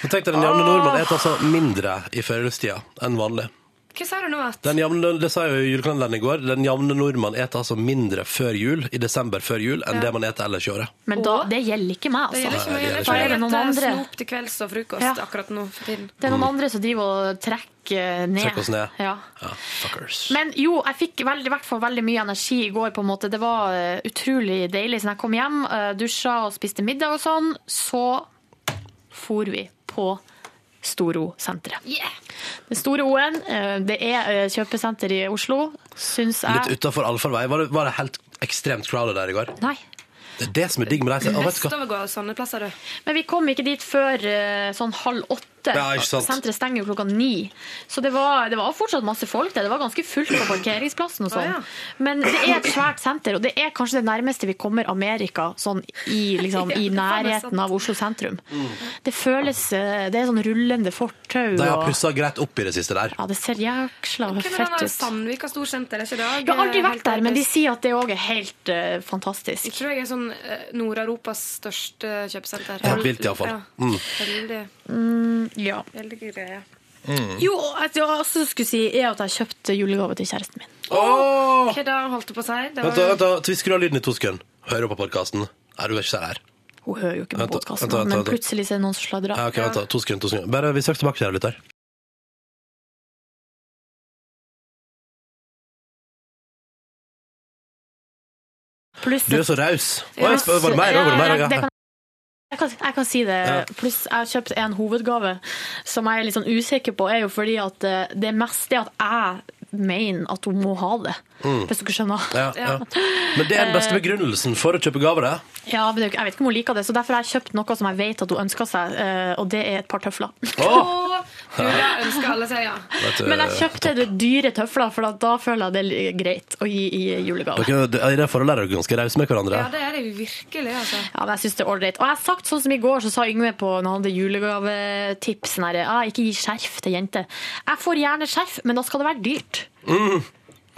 S2: Men Tenk deg, Den jevne nordmann spiser altså mindre i førjulstida enn vanlig.
S9: Hva sa du nå? At
S2: Den jevne, det sa jo julekalenderen i går. Den jevne nordmann spiser altså mindre før jul, i desember før jul enn det man spiser ellers i året.
S1: Men da,
S9: Og?
S1: det gjelder ikke meg,
S9: det
S1: altså.
S9: gjelder ikke meg.
S2: Nei, det
S9: Jeg
S2: gjelder
S9: får
S1: ikke meg.
S9: noen
S7: eh,
S9: andre.
S1: Noen andre.
S9: Snop til kvelds og frokost
S1: Ja.
S9: akkurat nå for tiden.
S1: Det er noen andre som driver og trekker eh, ned.
S2: Trekk oss ned.
S1: Ja.
S2: Ja, fuckers.
S1: Men jo, jeg fikk veldig, i hvert fall veldig mye energi i går. på en måte. Det var eh, utrolig deilig. Så når jeg kom hjem, eh, dusja og spiste middag og sånn, så for vi på Storo-senteret. Den store O-en, eh, det er eh, kjøpesenter i Oslo, syns jeg.
S2: Litt utafor allfarvei. Var, det- var det helt ekstremt crowded der i går?
S1: Nei.
S2: Det er det som er digg med deg. Å, vet du hva?
S9: Østover går sånne plasser, du.
S1: Men vi kom ikke dit før eh, sånn halv åtte. åtte.
S2: Ja, ikke sant.
S1: Senteret stenger jo klokka ni. Så det var, det var fortsatt masse folk der. Det var ganske fullt på parkeringsplassen og sånn.
S7: Å, ja.
S1: Men det er et svært senter, og det er kanskje det nærmeste vi kommer Amerika sånn i, <laughs> liksom, i
S7: Ja, det faen er sant.
S1: nærheten av Oslo sentrum.
S2: Mm.
S1: Det føles eh, Det er sånn rullende fortau
S2: De har
S1: og
S2: pussa greit opp i det siste der.
S1: Ja, det ser jæksla
S7: Hvem er den
S1: fett
S7: der
S1: ut.
S7: Sandvika storsenter? Er ikke det også,
S1: Jeg har aldri
S7: eh, helt
S1: vært der, men de
S7: gratis?
S1: sier at det òg er helt eh, fantastisk.
S7: Jeg tror jeg er sånn eh, Nord-Europas største eh, kjøpesenter.
S2: Helt vilt, i hvert fall.
S7: Ja. Veldig,
S1: Ja.
S7: veldig greie.
S2: Mm.
S1: Jo, at jeg også skulle si, er at jeg kjøpte julegave til kjæresten min.
S2: Åh!
S7: Hva da holdt du på å si? Det
S2: Vent, da, vent, da. Vi skrur av lyden i to sekunder. Hører på podkasten. Er du ikke så her?
S1: Hun hører jo ikke på
S2: Vent da,
S1: podkasten,
S2: vent da, vent da,
S1: men
S2: vent da.
S1: plutselig så er det noen som sladrer.
S2: Ja, ok, vent da. To sekunder, to sekunder. Bare, vi søker tilbake til deg, lytter.
S1: Pluss
S2: Du er så raus. Å, jeg spør- Var det mer? Var det mer?
S1: Ja, det
S2: Ja.
S1: kan- Jeg kan, jeg kan si det.
S2: Ja.
S1: Pluss jeg har kjøpt en hovedgave som jeg er litt sånn usikker på, er jo fordi at eh, det er mest det at jeg mener at hun må ha det.
S2: Mm.
S1: Hvis dere skjønner.
S2: Ja, ja. Men det er den
S1: Eh.
S2: beste begrunnelsen for å kjøpe gaver, det.
S1: Ja, men det er jo ikke- Jeg vet ikke om hun liker det, så derfor har jeg kjøpt noe som jeg vet at hun ønsker seg, eh, og det er et par tøfler.
S2: Åh!
S7: Å, Hurra ønsker alle seg, ja.
S2: Vet du,
S1: <laughs> Men jeg kjøpte det dyre tøfler, for da- da føler jeg det er greit å gi i julegave.
S2: dere, det- I det forholdet er dere ganske rause med hverandre.
S7: Ja, det er det jo virkelig, altså.
S1: Ja, men jeg synes det er ålreit. Og jeg har sagt sånn som i går, så sa Yngve på når han hadde julegavetips sånn her, ah, Ikke gi skjerf til jenter. Jeg får gjerne skjerf, men da skal det være dyrt.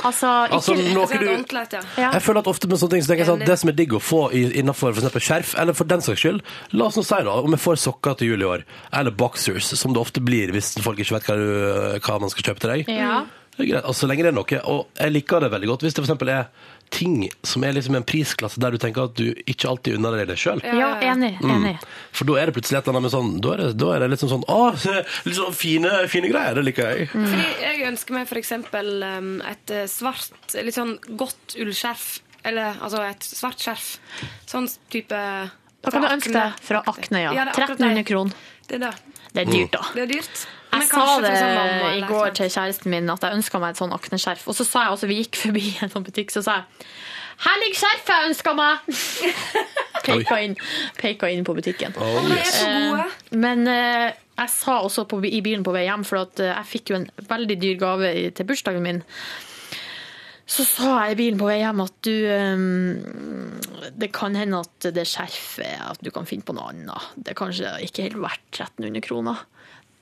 S1: Altså, ikke
S2: Altså, noe
S7: Det er
S2: du
S7: helt ordentlig, ja.
S1: ja.
S2: Jeg føler at ofte med sånne ting så tenker jeg sånn,
S7: Enig.
S2: at Det som er digg å få i- innenfor for eksempel skjerf, eller for den saks skyld La oss nå si da, om jeg får sokker til jul i år, eller boxers, som det ofte blir hvis folk ikke vet hva, du, hva man skal kjøpe til deg.
S1: Ja.
S2: Det er greit, altså, så lenge det er noe, og jeg liker det veldig godt hvis det for eksempel er ting som er liksom en prisklasse der du tenker at du ikke alltid unner deg det sjøl.
S1: Ja, enig. enig.
S2: For da er det plutselig et eller annet med sånn Da er det, da er det liksom sånn Å, litt sånn fine, fine greier. Det liker jeg.
S1: Mm.
S7: Fordi jeg ønsker meg for eksempel um, et eh, svart, litt sånn godt ullskjerf. Eller altså et svart skjerf. Sånn type
S1: Da kan du ønske deg fra Akne, ja.
S7: det er akkurat det.
S1: 1300 kroner.
S7: Det er det.
S1: Det er dyrt, da.
S7: Det er dyrt.
S1: Jeg sa
S7: kanskje
S1: det
S7: for sånn mamma
S1: i går
S7: eller et eller annet.
S1: til kjæresten min at jeg ønska meg et sånn akneskjerf. Og så sa jeg også, vi gikk forbi en sånn butikk, så sa jeg her ligger skjerfet jeg ønska meg! Peka inn, peka inn på butikken.
S2: Oh,
S7: Men de er
S2: yes.
S7: så gode.
S1: Men eh, jeg sa også på, i bilen på vei hjem, for at, eh, jeg fikk jo en veldig dyr gave i- til bursdagen min. Så sa jeg i bilen på vei hjem at du eh, Det kan hende at det skjerfet At du kan finne på noe annet. Det er kanskje ikke helt verdt 1300 kroner.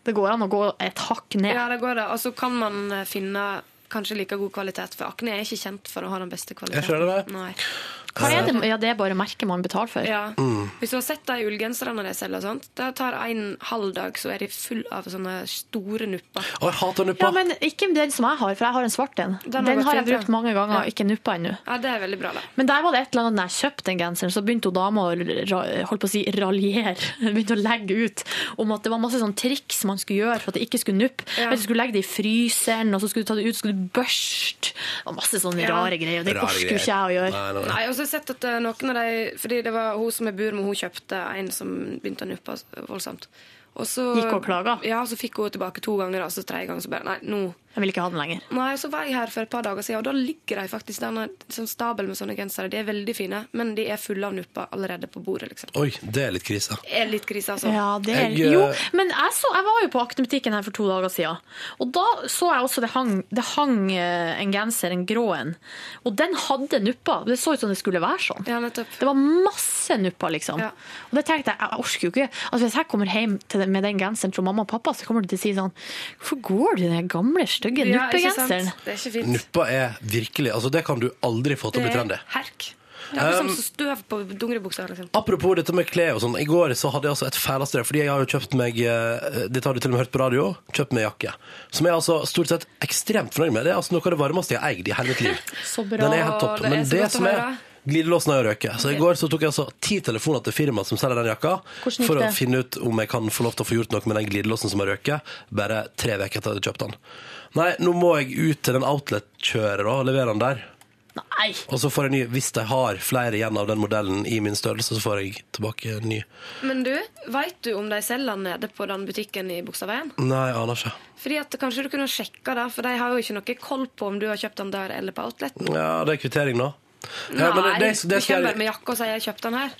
S1: Det går an å gå et hakk ned.
S7: Ja, det går det. Og så kan man eh, finne kanskje like god kvalitet, for Akne er ikke kjent for å ha den beste kvaliteten.
S2: Jeg skjønner det.
S7: Nei.
S1: Hva er det? Ja, det er bare merket man betaler for.
S7: Ja.
S2: Mm.
S7: Hvis du har sett de ullgenserne de selger, og sånt, det tar en halv dag, så er de full av sånne store nupper.
S2: Å, jeg hater nuppa.
S1: Ja, men Ikke den som jeg har, for jeg har en svart en.
S7: Den har
S1: Den,
S7: gått
S1: har jeg
S7: fint, ja.
S1: brukt mange ganger,
S7: Ja.
S1: ikke nuppa ennå.
S7: Ja, Det er veldig bra, da.
S1: Men der var det et eller annet når jeg kjøpte den genseren, så begynte hun dama å ra- holdt på å si, raljere. <laughs> Hun Begynte å legge ut om at det var masse sånn triks man skulle gjøre for at det ikke skulle nuppe.
S7: Ja.
S1: Men Du skulle legge det i fryseren, og så skulle du ta det ut, så skulle du børste. Det var masse sånne
S7: Ja.
S1: rare greier, og det
S2: Rare
S1: orker
S2: greier.
S1: jo ikke jeg å gjøre.
S2: Nei, nei, nei.
S7: Nei, og så har jeg sett at eh, noen av de Fordi det var hun som jeg bor med, hun kjøpte en som begynte å nuppe voldsomt. Og så,
S1: Gikk hun og klaga?
S7: Ja, så fikk hun tilbake to ganger, og så tredje gang så bare Nei, nå
S1: Jeg vil ikke ha den lenger.
S7: Nei, så var jeg her for et par dager siden, og da ligger de faktisk der en sånn stabel med sånne gensere. De er veldig fine, men de er fulle av nupper allerede på bordet, liksom.
S2: Oi, det er litt krise.
S7: Er litt krise, altså.
S1: Ja, det er,
S2: Jeg, eh,
S1: jo, men jeg, så, jeg var jo på aknebutikken her for to dager siden. Og da så jeg også det hang, det hang eh, en genser, en grå en. Og den hadde nuppa. Det så ut som det skulle være sånn.
S7: Ja, nettopp.
S1: Det var masse nupper, liksom.
S7: Ja.
S1: Og det tenkte jeg, jeg orker jo ikke. Altså, hvis jeg kommer hjem til, med den genseren fra mamma og pappa, så kommer de til å si sånn Hvorfor går du i den gamle, stygge
S7: Ja, ikke sant?
S1: nuppegenseren?
S7: Det er ikke fint.
S2: Nuppa er virkelig Altså, det kan du aldri få til å bli trendy.
S7: herk. Det er som støv på dungeribuksa. Liksom.
S2: Apropos dette med klær og sånn. I går så hadde jeg altså et fæleste Fordi jeg har jo kjøpt meg eh, Dette har du til og med hørt på radio. Kjøpt meg jakke. Som jeg er altså stort sett ekstremt fornøyd med. Det er altså noe av det varmeste jeg har eid i hele mitt
S7: <laughs>
S2: liv.
S1: Så bra.
S2: Den er helt topp.
S7: det er
S2: Men
S7: så
S2: det
S7: godt å
S2: som er
S7: høre.
S2: Glidelåsen har jo røket. Så i går så tok jeg altså ti telefoner til firmaet som selger den jakka,
S1: Hvordan gikk
S2: for å
S1: det?
S2: finne ut om jeg kan få lov til å få gjort noe med den glidelåsen som har røket, bare tre uker etter at jeg hadde kjøpt den. Nei, nå må jeg ut til den outlet-kjøret da, og levere den der.
S1: Nei!
S2: Og så får jeg ny, hvis jeg har flere igjen av den modellen i min størrelse, så får jeg tilbake en ny.
S7: Men du, veit du om de selger den nede på den butikken i Bogstadveien?
S2: Nei, jeg aner ikke.
S7: Fordi at Kanskje du kunne sjekka det, for de har jo ikke noe koll på om du har kjøpt den der eller på Outlet.
S2: Ja, det er kvittering nå.
S7: Nei,
S2: Ja, men det- det- det
S7: du
S2: skal
S7: kommer
S2: jeg-
S7: bare med jakke og sier 'jeg kjøpte den her'.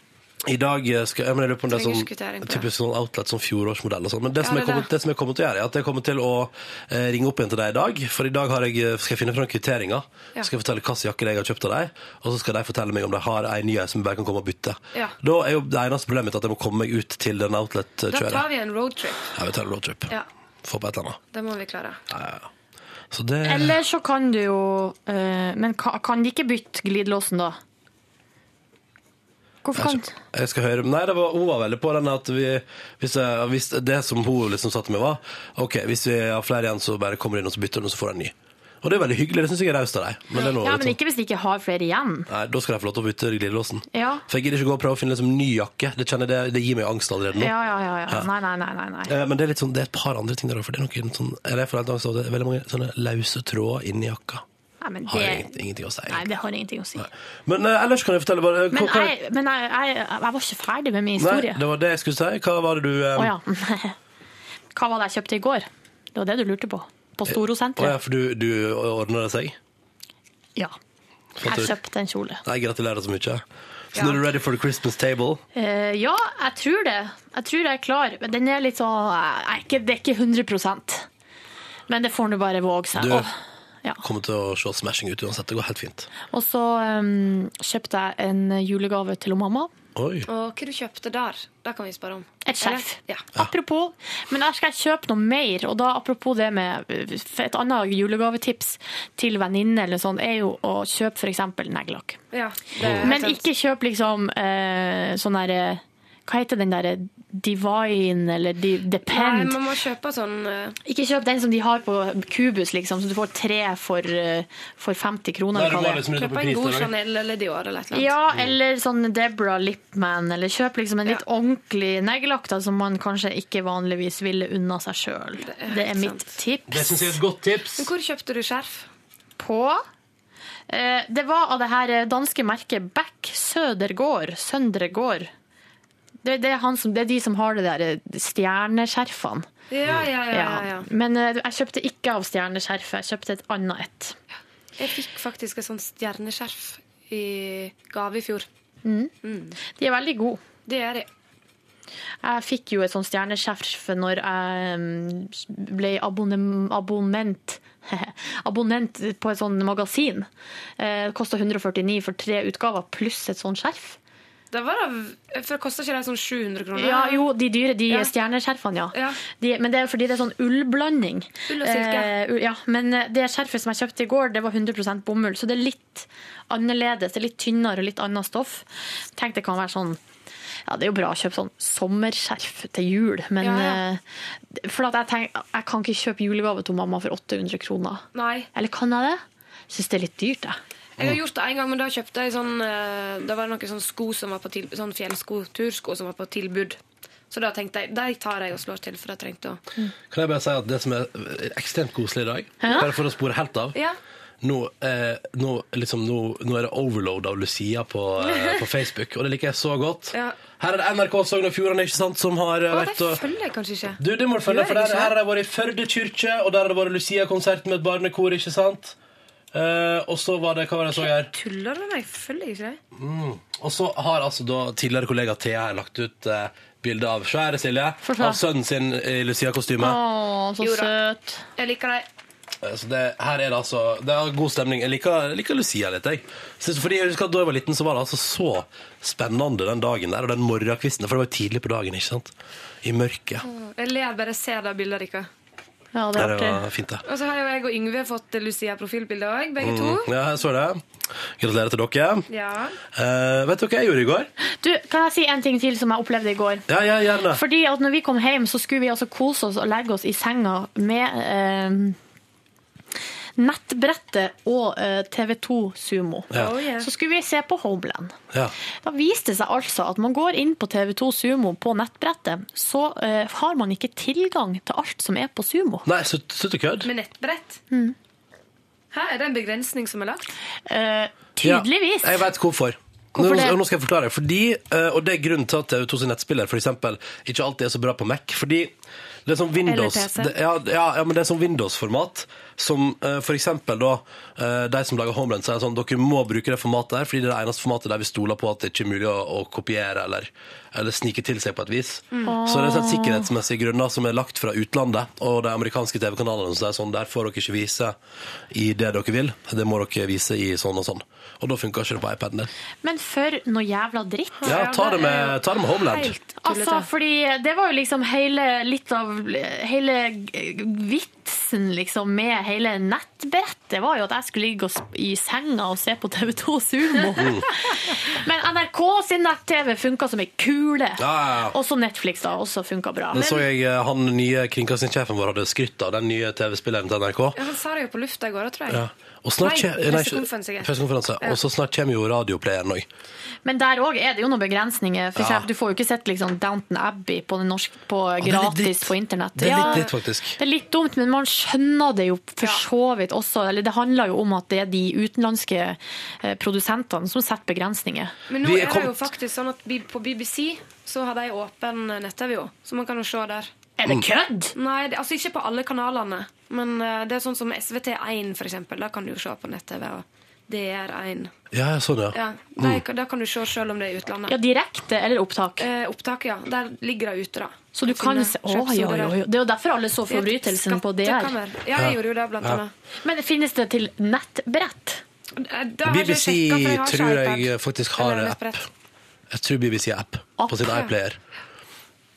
S2: I dag eh, skal jeg, men jeg lurer på om det er
S9: Trenger
S2: sånn,
S9: skuttering på det.
S2: typisk sånn outlet, sånn fjorårsmodell og sånn. Men det,
S9: Ja,
S2: som
S9: det
S2: jeg
S9: er
S2: kommer, det.
S9: det.
S2: som jeg kommer til å gjøre, er at jeg kommer til å eh, ringe opp igjen til deg i dag. For i dag har jeg, eh, skal jeg finne fram kvitteringa.
S9: Ja.
S2: Skal jeg fortelle hvilke jakker jeg har kjøpt av deg. Og så skal de fortelle meg om de har ei ny ei som jeg bare kan komme og bytte.
S9: Ja.
S2: Da er jo det eneste problemet mitt at jeg må komme meg ut til den
S9: Da tar
S2: outlet-kjøret.
S9: vi en roadtrip.
S2: Ja, vi tar en roadtrip.
S9: Ja,
S2: Få på et eller annet.
S9: det må vi klare.
S2: Ja, ja, ja. Så det
S1: Eller så kan du jo eh, Men ka, kan de ikke bytte glidelåsen, da? Hvorfor kan
S2: Jeg skal høre Nei, det var, hun var veldig på den at vi hvis, jeg, hvis Det som hun liksom sa til meg, var OK, hvis vi har flere igjen, så bare kommer du inn og så bytter du, og så får du en ny. Og det er veldig hyggelig. Det syns jeg er raust av deg. Men det er noe,
S1: Ja,
S2: litt
S1: men
S2: sånn-
S1: ikke hvis de ikke har flere igjen.
S2: Nei, Da skal jeg få lov til å bytte glidelåsen.
S1: Ja.
S2: For jeg gidder ikke gå og prøve å finne liksom, ny jakke. Det, kjenner, jeg- det, det gir meg angst allerede nå.
S1: Ja, ja, ja. ja. Nei, nei, nei. nei, nei.
S2: Eh, Men det er, litt sånn, det er et par andre ting der òg. For det er noen sånn, eller jeg får helt angst av at det er veldig mange sånne løse tråder inni jakka.
S1: Nei, men
S2: Har
S1: det,
S2: ingenting, ingenting å si.
S1: nei, det har ingenting å si.
S2: Men eh, ellers kan jeg fortelle bare hva-
S1: Men,
S2: hva-
S1: jeg, men jeg, jeg, jeg var ikke ferdig med min
S2: Nei,
S1: historie.
S2: det var det jeg skulle si. Hva var det du eh,
S1: Å ja. <laughs> Hva var det jeg kjøpte i går? Det var det du lurte på. På
S2: Eh, Å ja,
S1: Storosenteret?
S2: for du, du ordner det seg?
S1: Ja. Jeg kjøpte en kjole.
S2: Nei, gratulerer så mye. Så nå er du ready for the Christmas table.
S1: Eh, ja, jeg tror det. Jeg tror jeg er klar. Men den er litt sånn jeg er ikke, Det er ikke 100 Men det får nå bare våge seg.
S2: Du-
S1: Åh, ja.
S2: Kommer til å se smashing ut uansett. Det går helt fint.
S1: Og så em, kjøpte jeg en julegave til mamma.
S2: Oi.
S9: Og hva du kjøpte der, det kan vi spørre om.
S1: Et skjerf.
S9: Eller? Ja.
S1: Apropos, men der skal jeg kjøpe noe mer. Og da apropos det med for Et annet julegavetips til venninne eller sånn, er jo å kjøpe f.eks. neglelakk.
S9: ja
S7: Mm.
S9: det er
S1: Men
S9: sant.
S1: ikke kjøp liksom eh, sånn derre Hva heter den derre Divine eller di,
S9: Nei,
S1: Depend?
S9: man må kjøpe sånn eh,
S1: Ikke kjøp den som de har på Kubus, liksom, så du får tre for, eh, for 50 kroner.
S2: Nei, det
S1: eller
S2: var
S1: hva det er.
S2: liksom litt oppe
S9: Kjøpe
S2: i
S9: en god
S2: pris. der, da.
S9: Chanel eller Dior eller et eller annet.
S1: Ja, eller sånn Debra Lipman, eller kjøp liksom en litt ordentlig neglelakk da, som man kanskje ikke vanligvis ville unna seg sjøl.
S9: er
S1: Det er
S9: helt
S1: mitt
S2: Det
S1: tips
S2: syns jeg er et godt tips.
S9: Men hvor kjøpte du skjerf?
S1: på eh, Det var av det her danske merket Back Sødergård. Søndregård. Det, det, er han som, det er de som har det der eh, stjerneskjerfene.
S9: Ja, ja, ja. ja, ja.
S1: Ja. Men eh, jeg kjøpte ikke av stjerneskjerfet, jeg kjøpte et annet et.
S9: Jeg fikk faktisk et sånt stjerneskjerf i gave i fjor.
S1: De er veldig gode.
S9: Det er det.
S1: Jeg fikk jo et sånt stjerneskjerf når jeg mm, ble abonnem- abonnement <laughs> abonnent på et sånt magasin. Eh, Det kosta 149 for tre utgaver pluss et sånt skjerf.
S9: Det var da, for Kosta ikke det sånn 700 kroner?
S1: Ja, jo, de dyre, de
S9: Ja.
S1: stjerneskjerfene, ja.
S9: Ja.
S1: De, men det er fordi det er sånn ullblanding.
S9: Ull og silke.
S1: Eh, ull- ja, men eh, det skjerfet som jeg kjøpte i går, det var 100 bomull, så det er litt annerledes. Det er litt tynnere og litt annet stoff. Tenk det kan være sånn ja, Det er jo bra å kjøpe sånn sommerskjerf til jul, men
S9: Ja, ja.
S1: eh, For at jeg tenker, jeg kan ikke kjøpe julegave til mamma for 800 kroner.
S9: Nei.
S1: Eller kan jeg det? Syns det er litt dyrt, jeg.
S9: Jeg har gjort det en gang, men da kjøpte jeg sånn eh, Da var det noen sånne sko som var på tilbud, sånn fjellsko, tursko som var på tilbud. Så da tenkte jeg de tar jeg og slår til, for da trengte jeg å
S2: Kan jeg bare si at det som er eh, ekstremt koselig i dag,
S1: Ja.
S2: bare for å spore helt av
S9: Ja.
S2: Nå, eh, nå, liksom, nå, nå er det overload av Lucia på, eh, på Facebook, og det liker jeg så godt.
S9: Ja.
S2: Her er det NRK Sogn og Fjordane ikke sant, som har eh,
S9: Å, de
S2: vært og
S9: følger jeg kanskje ikke.
S2: Du, det må du følge,
S9: Gjør
S2: for
S9: jeg
S2: der,
S9: ikke?
S2: her har det vært i Førde kyrkje, og der har det vært Lucia-konsert med et barnekor, ikke sant? Eh, og så var det, hva var det jeg så her?
S9: Tuller du med meg? Følger jeg ikke deg?
S2: Og så har altså da tidligere kollega Thea her lagt ut eh, bilde av svære Silje,
S1: Få se.
S2: av sønnen sin i Lucia-kostyme.
S1: Å, så
S9: Jo da.
S1: søt.
S9: Jeg liker deg.
S2: Eh, Så det, her er det altså, det er god stemning. Jeg liker, jeg liker Lucia litt, jeg. Synes, fordi jeg husker at da jeg var liten, så var det altså så spennende den dagen der, og den morgenkvisten, for det var jo tidlig på dagen, ikke sant? I
S7: Mm,
S2: mørket.
S9: Jeg ler bare jeg ser det bildet deres.
S1: Ja, det er
S2: Det
S1: artig.
S2: var fint, det.
S9: Og så har jo jeg og Yngve fått Lucia-profilbilde òg,
S2: Mm.
S9: begge
S7: Mm.
S9: to.
S2: Ja, jeg så det. Gratulerer til dere.
S9: Ja.
S2: Eh, vet dere hva jeg gjorde i går?
S1: Du, kan jeg si en ting til som jeg opplevde i går?
S2: Ja, ja, gjerne.
S1: Fordi at når vi kom hjem, så skulle vi altså kose oss og legge oss i senga med eh, nettbrettet og eh, TV2 Sumo.
S2: Ja.
S9: Oh, yeah.
S1: Så skulle vi se på Homeland.
S2: Ja.
S1: Da viste det seg altså at man går inn på TV2 Sumo på nettbrettet, så eh, har man ikke tilgang til alt som er på Sumo.
S2: Nei, slutt slutt å kødde.
S9: Med nettbrett. Her er det en begrensning som er lagt.
S1: Eh, tydeligvis.
S2: Ja, jeg vet hvorfor.
S1: Hvorfor
S2: nå,
S1: det?
S2: nå skal jeg forklare. Fordi, eh, og det er grunnen til at TV2 sin nettspiller for eksempel, ikke alltid er så bra på Mac. Fordi Det er sånn Windows,
S7: Eller PC.
S2: det, ja, ja, ja, men det er sånn Windows-format som eh, for eksempel da, eh, de som lager homebrent, sier sånn, dere må bruke det formatet der, fordi det er det eneste formatet der vi stoler på at det ikke er mulig å, å kopiere eller, eller snike til seg på et vis. Så det er sånn sikkerhetsmessige grunner som er lagt fra utlandet, og de amerikanske TV-kanalene som sier sånn, der får dere ikke vise i det dere vil, det må dere vise i sånn og sånn. Og da funker ikke det på iPaden din.
S1: Men for noe jævla dritt.
S2: Ja, ta det med, ta det med homeland.
S7: Helt tullete.
S1: Altså, fordi det var jo liksom hele litt av Hele g- g- vitsen liksom med hele nettbrettet var jo at jeg skulle ligge og sp- i senga og se på TV2 Sumo.
S2: <laughs>
S1: Men NRK sin nett-TV funka som ei kule.
S2: ja, ja.
S1: Også Netflix da, også funka bra.
S2: Men så jeg eh, han nye kringkastingssjefen vår hadde skrytt av den nye TV-spilleren til NRK.
S7: Ja, han sa det jo på lufta i går òg, tror jeg.
S2: Ja. Og snart
S7: Nei,
S2: kje- eh, nei,
S7: pressekonferanse, ikke.
S2: pressekonferanse. Og så snart kommer jo radioplayeren òg.
S1: Men der òg er det jo noen begrensninger. For
S2: Ja.
S1: eksempel, Du får jo ikke sett liksom Downton Abbey på, norsk, på
S2: det er litt
S1: gratis
S2: dritt.
S1: på internett.
S2: Det er
S1: Ja.
S2: litt dritt, faktisk.
S1: Det er litt dumt, men man skjønner det jo for så vidt også. Eller det handler jo om at det er de utenlandske eh, produsentene som setter begrensninger.
S7: Men nå
S2: Vi er
S7: er det jo
S2: kommet-
S7: faktisk sånn at bi- på BBC så har de åpen nett-TV, jo. Så man kan jo se der.
S1: Er
S2: Mm.
S1: det kødd?!
S7: Nei, det, altså ikke på alle kanalene. Men eh, det er sånn som SVT1, for eksempel. Da kan du jo se på nett-TV. Og DR1.
S2: Ja, ja, sånn, ja.
S7: Ja, de, Da kan du se selv om det er i utlandet.
S1: Ja, direkte eller opptak.
S7: Eh, opptak, ja. Der ligger det ute, da.
S1: Så du kan se Å,
S7: Kjøpsord
S1: jo, jo,
S7: der.
S1: jo. Det er jo derfor alle så forbrytelsen på DR.
S7: Skattekammer. Ja, jeg gjorde jo det, blant annet.
S1: Men finnes det til nettbrett?
S7: Eh, da har jeg
S2: BBC
S7: sjekket, for har ikke
S2: tror jeg
S7: iPad.
S2: eh, faktisk har
S7: Eller
S2: app.
S7: nettbrett.
S2: Jeg tror BBC har app
S1: App,
S2: på sin
S1: ja.
S2: iPlayer.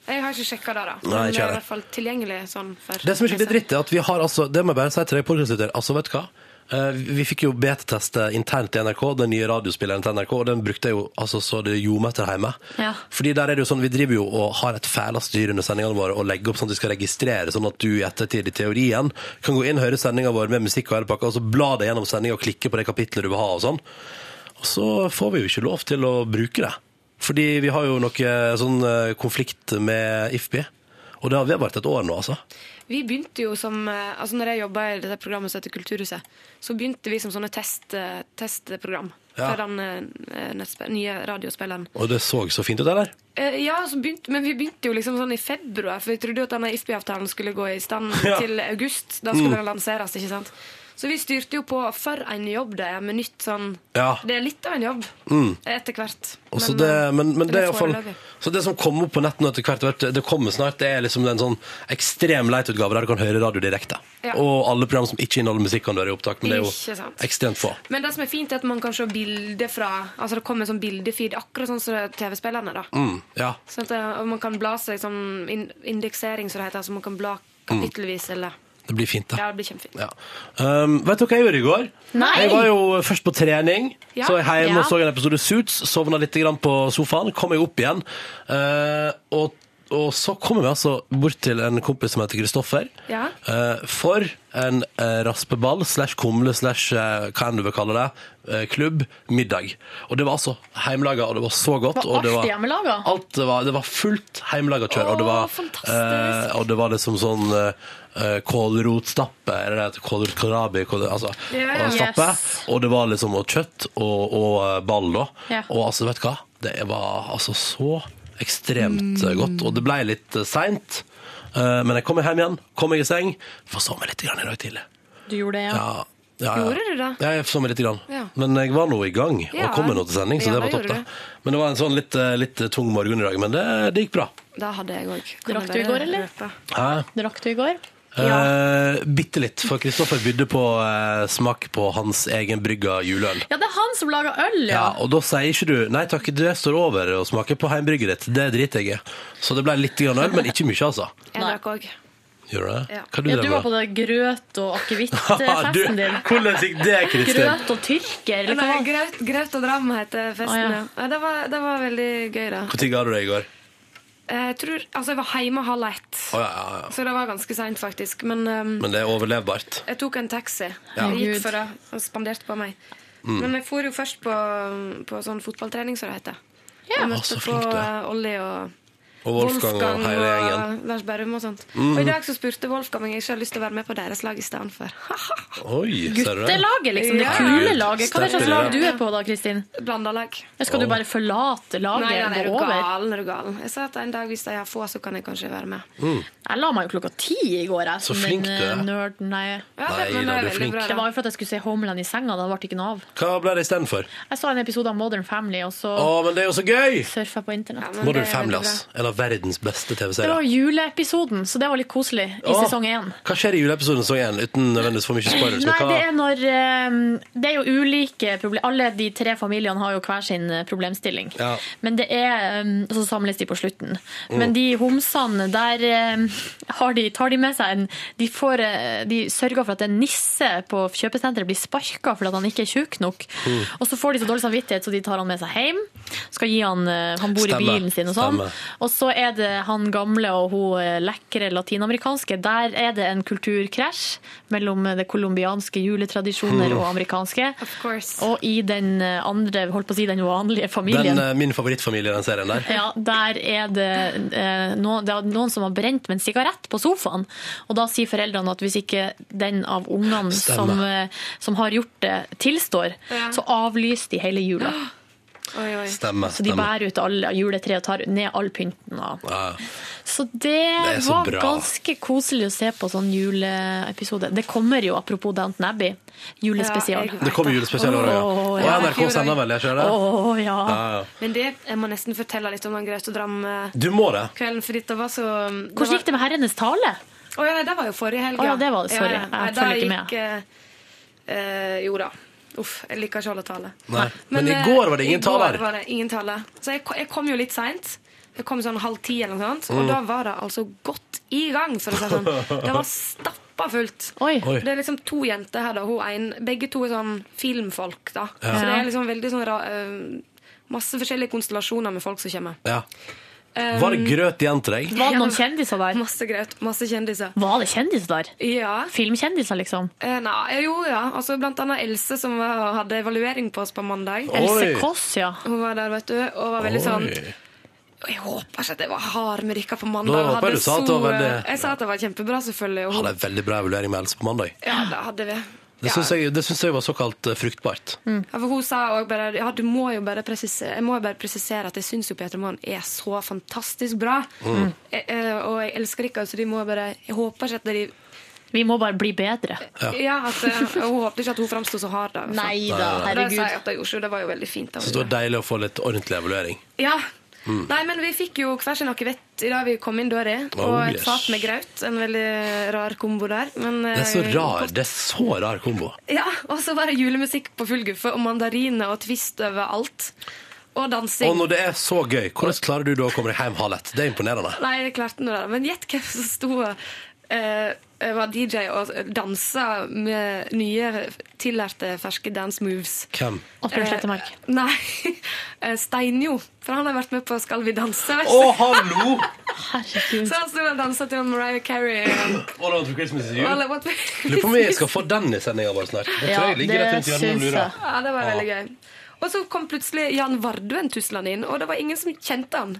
S7: Jeg har ikke sjekka det, da.
S2: Nei,
S7: Men
S2: ikke
S7: det er i
S2: heller.
S7: hvert fall tilgjengelig sånn for
S2: Det som er skikkelig
S7: PC.
S2: dritt, er at vi har altså Det må jeg bare si til deg, podkastlytter. Altså, vet du hva? Eh, Vi fikk jo beteteste internt i NRK, den nye radiospilleren til NRK, og den brukte jeg jo altså, så det ljomer etter hjemme.
S1: Ja.
S2: Fordi der er det jo sånn, vi driver jo og har et fælast dyr under sendingene våre og legger opp sånn at vi skal registrere, sånn at du i ettertid i teorien kan gå inn, høre sendinga vår med musikk og hele pakka, og så bla deg gjennom sendinga og klikke på det kapitlet du vil ha og sånn. Og så får vi jo ikke lov til å bruke det. Fordi vi har jo noe sånn eh, konflikt med IFPI, og det har vedvart et år nå, altså.
S7: Vi begynte jo som eh, altså Når jeg jobba i dette programmet som heter Kulturhuset, så begynte vi som sånne test, eh, testprogram
S2: Ja.
S7: for den eh, nettspe- nye radiospilleren.
S2: Og det så så fint ut, eller?
S7: Eh, ja, så begynte, men vi begynte jo liksom sånn i februar, for vi trodde jo at denne IFPI-avtalen skulle gå i stand
S2: <laughs> Ja. Mm.
S7: til august. Da skulle den lanseres, ikke sant. Så vi styrte jo på for en jobb det er, med nytt sånn
S2: Ja. Mm.
S7: Det er litt av en jobb etter hvert.
S2: Og så det,
S7: eh,
S2: men, men det, er i hvert fall,
S7: foreløpig.
S2: så det som kommer opp på netten etter hvert, vet du, det kommer snart, det er liksom en sånn ekstrem leitutgave der du kan høre radio direkte.
S7: Ja.
S2: Og alle program som ikke inneholder musikk kan du høre i opptak, men det er
S7: Ikke
S2: jo
S7: sant.
S2: ekstremt få.
S7: Men det som er fint, er at man kan se bilder fra Altså det kommer en sånn bildefeed, akkurat sånn som det er TV-spillerne, da.
S2: Mm, ja.
S7: Sånn at det- og man kan bla seg sånn in indeksering, som det heter. Altså man kan bla
S2: Mm.
S7: kapittelvis, eller
S2: Det blir fint, det.
S7: Ja, det blir kjempefint.
S2: Ja. Um, vet du hva jeg gjorde i går?
S1: Nei!
S2: Jeg var jo først på trening.
S7: Ja.
S2: Så var jeg hjemme
S1: Ja.
S2: og så en episode Suits, sovna litt grann på sofaen, kom jeg opp igjen. eh, og, og så kommer vi altså bort til en kompis som heter Kristoffer.
S7: Ja.
S2: eh, for en eh, raspeball slash kumle slash eh, hva enn du vil kalle det, eh, klubb middag. Og det var altså heimelaga, og det var så godt.
S1: Var
S2: og det
S1: alt hjemmelaga?
S2: Alt det var, det var fullt heimelaga kjør, og det var,
S7: fantastisk.
S2: eh, og det var liksom sånn eh, eh, kålrotstappe, eller det heter kålrot karabi, kål, altså,
S7: Ja,
S2: og
S1: yes.
S2: stappe, og det var liksom og kjøtt og, og eh, ball da,
S1: Ja.
S2: og altså, vet du hva, det var altså så ekstremt eh,
S7: Mm.
S2: godt, og det ble litt eh, sent, Eh, men jeg kom hjem igjen, kom jeg i seng, for så meg litt grann i dag tidlig.
S1: Du gjorde det,
S2: Ja, ja, ja.
S7: Gjorde du det?
S2: Ja, jeg så meg litt grann.
S7: Ja.
S2: Men jeg var nå i gang, og
S7: Ja.
S2: kom med nå til sending, så
S7: Ja,
S2: det var
S7: det
S2: topp
S7: gjorde
S2: da. Men det var en sånn litt, eh, litt tung morgen i dag, men det, det gikk bra.
S7: Da hadde jeg òg.
S1: Drakk du i går, eller?
S2: Hæ?
S1: Drakk du i går?
S2: Eh, bitte litt, for Kristoffer bydde på eh, smak på hans egen brygga juleøl.
S1: Ja, det er han som lager øl, ja.
S2: Ja, og da sier ikke du Nei takk, det står over å smake på heimbrygget ditt. Det driter jeg i. Så det ble litt grann øl, men ikke mye, altså.
S7: Jeg drakk òg.
S2: Gjør du det?
S7: Ja.
S2: Hva du
S1: Ja,
S2: drev
S1: du
S2: <laughs>
S1: var på det grøt- og
S2: Ha, <laughs> du,
S1: akevittfesten din.
S2: hvordan gikk det, Kristin?
S1: Grøt og tyrker, eller hva?
S7: Nei, Graut, graut og Dram heter festen,
S1: Å, ja.
S7: ja. ja. Det var, det var veldig gøy, da.
S2: Når ga du deg i går?
S7: Jeg tror Altså, jeg var hjemme halv ett,
S2: Å ja, ja, ja.
S7: så det var ganske seint, faktisk. Men ehm,
S2: Men det er overlevbart.
S7: Jeg tok en taxi.
S2: Ja. Mm.
S7: Jeg
S1: Gud.
S7: gikk for det. Han spanderte på meg. Men jeg for jo først på, på sånn fotballtrening, som det heter.
S1: Ja.
S2: Å,
S7: Jeg
S2: Ah, så
S7: møtte på
S2: flink du er.
S7: eh, Olli og
S2: Og Wolfgang og hele gjengen.
S7: og Lars Berrum og sånt.
S2: Mhm.
S7: Og i dag så spurte Wolfgang om jeg ikke har lyst til å være med på deres lag i stedet for. <laughs>
S2: Oi, ser du det?
S1: Guttelaget, liksom. Det
S7: Ja.
S1: kule laget. Hva er det slags
S2: Sterkere.
S1: lag du er på da, Kristin?
S7: Blanda lag.
S1: Ja, Skal du bare forlate laget
S7: Nei, nei, nei,
S1: og gå
S7: er du
S1: over?
S7: gal? Er du gal? Jeg sa at en dag hvis de har få, så kan jeg kanskje være med.
S2: Mm.
S1: Jeg la meg jo klokka ti i går, jeg.
S2: Så
S1: som
S2: flink
S1: en,
S2: du er.
S1: eh, Nerd, nei.
S7: Ja,
S2: Nei, da,
S7: men det er
S2: du er
S7: veldig
S2: flink.
S7: bra, da.
S1: Det var jo for at jeg skulle se Homeland i senga, da ble det ikke noe av.
S2: Hva ble det istedenfor?
S1: Jeg så en episode av Modern Family, og så
S2: Å, men det er jo så gøy!
S1: surfa jeg på internett.
S7: men
S2: Modern
S7: det er
S2: Family,
S7: veldig bra.
S2: ass. En av verdens beste
S1: Det var
S2: TV-serier.
S1: juleepisoden, så det var litt koselig i
S2: Åh.
S1: sesong én.
S2: Hva skjer i juleepisoden sesong én, uten nødvendigvis for mye spoilers? Men
S1: Nei, det
S2: hva...
S1: er når eh, Det er jo ulike problemer Alle de tre familiene har jo hver sin eh, problemstilling.
S2: Ja. Mm.
S1: Men det er eh, Så samles de på slutten. Men de homsene, der eh, har de, tar de med seg en De, får, eh, de sørger for at en nisse på kjøpesenteret blir sparka fordi at han ikke er tjukk nok.
S2: Mm.
S1: Og så får de så dårlig samvittighet, så de tar han med seg hjem. Skal gi han eh, Han bor
S2: Stemmer.
S1: i bilen sin og sånn.
S2: Stemmer.
S1: Og så er det han gamle og hun eh, lekre latinamerikanske. Der er det en kulturkrasj mellom det colombianske juletradisjoner
S2: Hmm.
S1: og amerikanske.
S7: Of course.
S1: Og i den eh, andre, holdt på å si, den vanlige familien.
S2: Den, eh, min favorittfamilie i den serien der.
S1: Ja, der er det, eh, noen, det er noen som har brent med en sigarett på sofaen. Og da sier foreldrene at hvis ikke den av ungene
S2: Stemmer.
S1: som, eh, som har gjort det, tilstår,
S7: Ja.
S1: så avlyser de hele jula.
S7: Oi, oi.
S2: Stemmer.
S1: Så de
S2: stemmer.
S1: bærer ut alle juletreet og tar ned all pynten. Og.
S2: Ja.
S1: Så det,
S2: er så
S1: var
S2: bra.
S1: ganske koselig å se på sånn juleepisode. Det kommer jo, apropos Downton Abbey, julespesial.
S7: Ja,
S1: Å
S7: jeg-
S2: Det kommer julespesial i år, ja.
S1: Åh,
S2: Og
S1: ja.
S2: NRK sender vel, jeg kjører det?
S1: ja.
S2: Ja, ja.
S7: Men det, jeg må nesten fortelle litt om den Graustadram-kvelden,
S2: Du må det.
S7: for det var så
S1: Hvordan gikk det med herrenes tale?
S7: Å ja, nei, det var jo forrige helg.
S1: Å ja, det var det, sorry. Jeg
S7: Nei, da
S1: følger ikke med.
S7: gikk, eh, eh, jo da. Uff, jeg liker ikke å holde tale. eh,
S2: Nei. Men i går var det ingen
S7: i går
S2: taler.
S7: var det ingen tale. Så jeg, ko- jeg kom jo litt seint. Jeg kom sånn halv ti eller noe sånt.
S2: Mm.
S7: Og da var det altså godt i gang, for å si det sånn. Det var stappa fullt.
S1: Oi.
S2: Oi.
S7: Det er liksom to jenter her, da. Hun en, begge to er sånn filmfolk, da. Så det er liksom veldig sånn ra, eh, Masse forskjellige konstellasjoner med folk som kommer.
S2: Ja. Var det grøt igjen til deg?
S1: Var Um, det noen kjendiser der?
S7: Masse grøt, masse kjendiser.
S1: Var det kjendiser der?
S7: Ja.
S1: Filmkjendiser, liksom?
S7: Eh, Nei, jo ja. Altså, blant annet Else som var, hadde evaluering på oss på mandag.
S2: Oi.
S1: Else Kåss, ja.
S7: Hun var der, vet du, og var veldig sånn
S2: Oi.
S7: Jeg håper ikke at jeg var hard med dere på
S2: Nå
S7: mandag. og
S2: håper jeg
S7: hadde
S2: du sa at det
S7: så-
S2: var veldig-
S7: Jeg sa at det var kjempebra, selvfølgelig. Og hun,
S2: Hadde en veldig bra evaluering med Else på mandag.
S7: ja, det hadde vi.
S2: Det
S7: Ja.
S2: syns jeg, det syns jeg var såkalt eh, fruktbart.
S1: Mm.
S7: Ja, for hun sa også bare ja, du må jo bare presisere, jeg må jo bare presisere at jeg syns jo Peter Moen er så fantastisk bra.
S2: Mm.
S7: Jeg, eh, og jeg elsker dere, så de må bare Jeg håper ikke at de
S1: Vi må bare bli bedre.
S7: Ja, at, eh, og hun håpte ikke at hun framsto så hard. da.
S1: Nei da,
S7: Og det sa jeg
S1: herregud.
S7: at jeg gjorde, så det var jo veldig fint. av
S2: Så
S7: henne.
S2: det var deilig å få litt ordentlig evaluering.
S7: Ja. Nei, men vi fikk jo hver sin akevett i dag vi kom inn døra. og
S2: Oh,
S7: et
S2: yes.
S7: fat med graut. En veldig rar kombo der. Men,
S2: Det er så
S7: eh,
S2: rar, det er så rar kombo.
S7: Ja, Og så var det julemusikk på full guffe, og mandariner og twist over alt. Og dansing.
S2: Og når det er så gøy, hvordan klarer du da å komme deg hjem halv ett? Det er imponerende.
S7: Nei, jeg klarte noe der. Men gjett hvem som sto eh, var DJ og dansa med nye, tillærte ferske dance moves.
S2: Hvem?
S1: Asbjørn Slettemark.
S7: Eh, <laughs> Nei, eh, Steinjo. For han har vært med på Skal vi danse. vet
S2: Å,
S7: du.
S2: hallo!
S1: Herregud.
S7: <laughs> Så han sto og dansa til Mariah Carey. eh,
S2: All over Christmas is you.
S7: All I Want for
S2: Lurer på om vi
S7: <laughs>
S2: skal få den i sendinga vår snart. Det tror
S1: Ja,
S2: jeg ligger rett rundt
S1: det
S2: hjørnet og
S1: syns
S2: lurer.
S1: jeg.
S7: Ja, det var veldig gøy. Og så kom plutselig Jan Vardøen tuslende inn, og det var ingen som kjente han.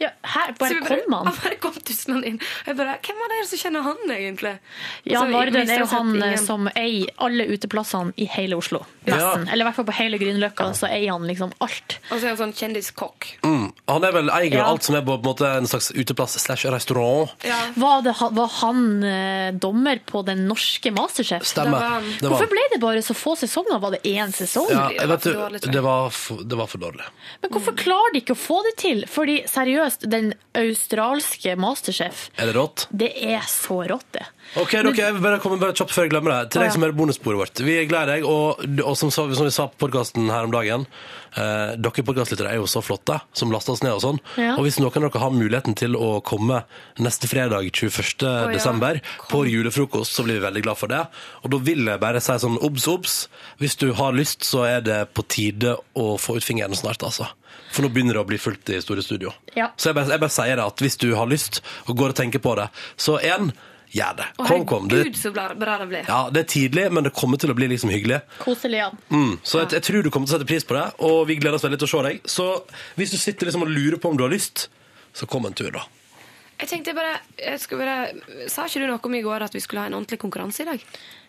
S1: Ja, her
S7: Så
S1: bare
S7: vi
S1: kom han.
S7: Han bare Ah, kom tuslende inn. Og jeg bare, Hvem var det som kjenner han, egentlig? Og så
S1: Jan Vardøen
S7: viste
S1: er jo
S7: det seg at
S1: han eh,
S7: ingen-
S1: som eier alle uteplassene i hele Oslo.
S2: Ja.
S1: Nesten. Eller i hvert fall på hele Grünerløkka, så eier han liksom alt.
S7: Og så er han sånn kjendiskokk.
S2: Mm. Han er vel eier
S1: Ja.
S2: av alt som er på en, måte, en slags uteplass slash restaurant.
S7: Ja.
S1: Var, det, han- var han eh, dommer på den norske Masterchef?
S7: Det var
S2: Stemmer.
S7: han.
S2: Det var
S1: Hvorfor
S2: han.
S1: ble det bare så få sesonger? Var det én sesong?
S2: Ja,
S7: Det
S2: jeg
S7: var
S2: vet,
S7: for
S2: du,
S7: dårlig, tror jeg.
S2: det, var for, det var for dårlig.
S1: Men hvorfor klarer de ikke å få det til? Fordi seriøst, den australske Masterchef,
S2: Er det rått?
S1: det er så rått, det.
S2: Ok, dere, jeg vil bare komme bare kjapt før jeg glemmer det. Til deg som hører bonussporet vårt. Vi er glad i deg, og, og som, sa- som vi sa på podkasten her om dagen, eh, dere podkastlyttere er jo så flotte, som laster oss ned og sånn.
S1: Ja.
S2: Og hvis noen av dere har muligheten til å komme neste fredag 21.
S7: ja.
S2: desember på julefrokost, så blir vi veldig glad for det. Og da vil jeg bare si sånn obs, obs. Hvis du har lyst, så er det på tide å få ut fingeren snart, altså. For nå begynner det å bli fullt i store studio.
S1: Ja.
S2: Så jeg bare, jeg bare sier det at hvis du har lyst og går og tenker på det, så en, gjør det.
S7: Og
S2: Kom, kom. Det,
S7: herregud, så bra bra det ble.
S2: ja, det er tidlig, men det kommer til å bli liksom hyggelig.
S1: Koselig, ja.
S2: Mm. Så jeg, jeg tror du kommer til å sette pris på det, og vi gleder oss veldig til å se deg. Så hvis du sitter liksom og lurer på om du har lyst, Så kom en tur, da.
S7: Jeg tenkte bare, jeg skulle bare Sa ikke du noe om i går at vi skulle ha en ordentlig konkurranse i dag?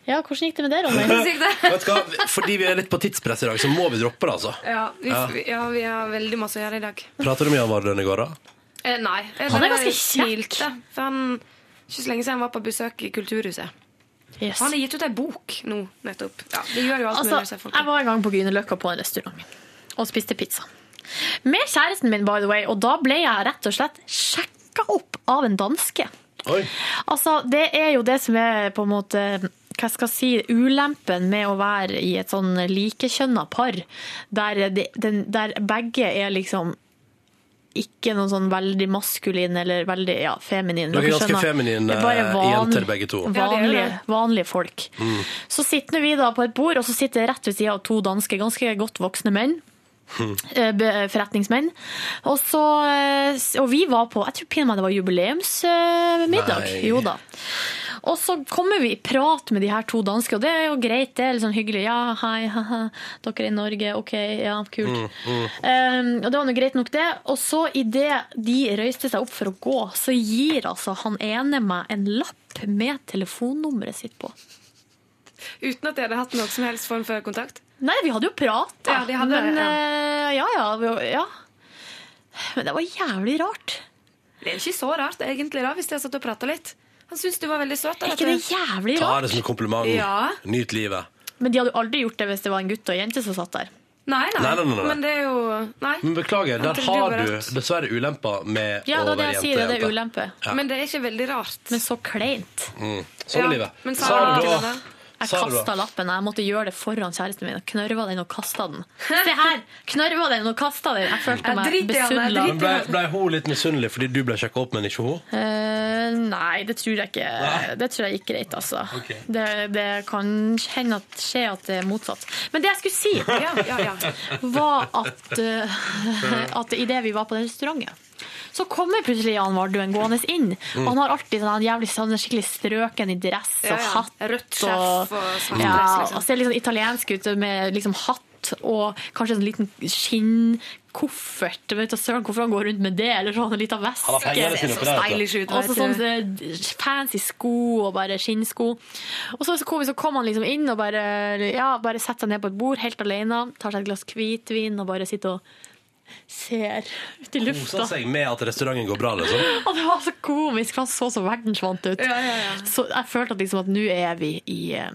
S1: Ja, hvordan gikk det med det,
S7: Hvordan
S1: Ronny?
S7: gikk det?
S2: Vet du hva? Fordi vi er litt på tidspress i dag, så må vi droppe det, altså.
S7: Ja vi,
S2: Ja.
S7: ja, vi har veldig masse å gjøre i dag.
S2: Prater du mye om Vardøen i går, da?
S7: Eh, nei. Jeg
S1: Han er
S7: bare
S1: ganske kjekk.
S7: smilte, For han, ikke så lenge siden han var på besøk i Kulturhuset.
S1: Yes.
S7: Han har gitt ut ei bok nå, nettopp. Ja, det gjør jo alt mulig med
S1: Altså,
S7: seg, folk.
S1: jeg var en gang på Grünerløkka på en restaurant og spiste pizza. Med kjæresten min, by the way, og da ble jeg rett og slett sjekka opp av en danske.
S2: Oi.
S1: Altså, det er jo det som er på en måte hva skal jeg si, ulempen med å være i et sånn likekjønna par, der, det, den, der begge er liksom ikke noen sånn veldig maskulin eller veldig ja, feminin.
S2: Dere er
S1: Dere
S2: ganske
S1: skjønner.
S2: feminine,
S1: Det er bare
S2: eh,
S1: van-
S2: jenter, begge to. Mm.
S7: Ja, det er
S1: Vanlige,
S7: det.
S1: vanlige folk. Så sitter nå vi da på et bord, og så sitter jeg rett ved siden av to danske, ganske godt voksne menn. eh, be- Forretningsmenn. Og, så, eh, s- og vi var på Jeg tror pinadø det var jubileumsmiddag.
S2: Nei.
S1: Jo da. Og så kommer vi i prat med de her to danske, og det er jo greit, det er litt sånn hyggelig. Ja, hei, <laughs> haha, dere er i Norge, ok, ja, kult. Um, og det var nå greit nok det. Og så idet de røyste seg opp for å gå, så gir altså han ene meg en lapp med telefonnummeret sitt på.
S7: Uten at jeg hadde hatt noen som helst form for kontakt.
S1: Nei, vi hadde jo prat, da.
S7: Ja, de hadde det,
S1: men
S7: ja.
S1: eh, ja, ja, vi- ja. Men det var jævlig rart.
S7: Det er ikke så rart, egentlig, da, hvis jeg satt og prata litt. Han syntes du var veldig søt. da,
S1: Er
S7: vet
S1: ikke det
S7: du.
S1: jævlig
S2: Ta
S1: rart?
S2: det som en kompliment.
S7: Ja.
S2: Nyt livet.
S1: Men de hadde jo aldri gjort det hvis det var en gutt og en jente som satt der.
S7: Nei, nei,
S2: Nei, nei, nei, nei.
S7: Men det er jo Nei.
S2: Men beklager, der
S7: Det er
S2: har
S7: bare
S2: du
S7: rett.
S2: dessverre ulemper med
S1: Ja,
S2: å
S1: det er det
S2: være
S1: jeg
S2: jente.
S1: sier, det er
S2: jente.
S1: ulempe.
S2: Ja.
S7: Men det er ikke veldig rart.
S1: Men så kleint.
S2: Mm. Sånn er
S7: Ja,
S2: livet.
S7: men
S2: Sa
S7: Sara-
S2: du da-
S7: Sara-
S1: Jeg
S2: Sa du da-
S1: kasta lappen. Jeg måtte gjøre det foran kjæresten min. Jeg Knørva den og kasta den. Se her! Knørva den og kasta den. Jeg følte
S7: Jeg
S1: meg
S7: driter i han, jeg
S1: besudla.
S7: driter i
S2: Men ble, ble hun litt misunnelig fordi du ble sjekka opp, men ikke hun?
S1: Eh, nei, det tror jeg ikke.
S2: Nei.
S1: Det tror jeg gikk greit, altså.
S2: Ok.
S1: Det, det kan hende at skje at det er motsatt. Men det jeg
S2: <laughs>
S1: skulle si,
S7: Ja, ja, ja.
S1: var at, uh, at idet vi var på den restauranten, så kommer plutselig Jan Vardøen gående inn.
S2: Mm.
S1: Og han har alltid sånn han jævlig sånn skikkelig strøken i dress og
S7: Ja, ja.
S1: hatt.
S7: Rødt
S1: og-
S7: skjerf og svart
S1: ja,
S7: dress, liksom.
S1: Og ser litt sånn italiensk ut med liksom hatt og kanskje en sånn liten skinnkoffert. Jeg Vet da søren hvorfor han går rundt med det, eller sånn en liten veske.
S2: Han har pengene sine oppi der. vet du.
S7: Stylish ut.
S1: Og så
S7: vet
S1: sånn
S7: du.
S1: eh, fancy sko og bare skinnsko. Og så, så, kom, så kom han liksom inn og bare, ja, bare setter seg ned på et bord helt alene, tar seg et glass hvitvin og bare sitter og ser ut i lufta.
S2: Kosa seg med at restauranten går bra, liksom.
S1: <laughs> <gasps> Og det var så komisk, for han så så verdensvant ut.
S7: Ja, ja, ja.
S1: Så jeg følte at liksom at nå er vi i eh,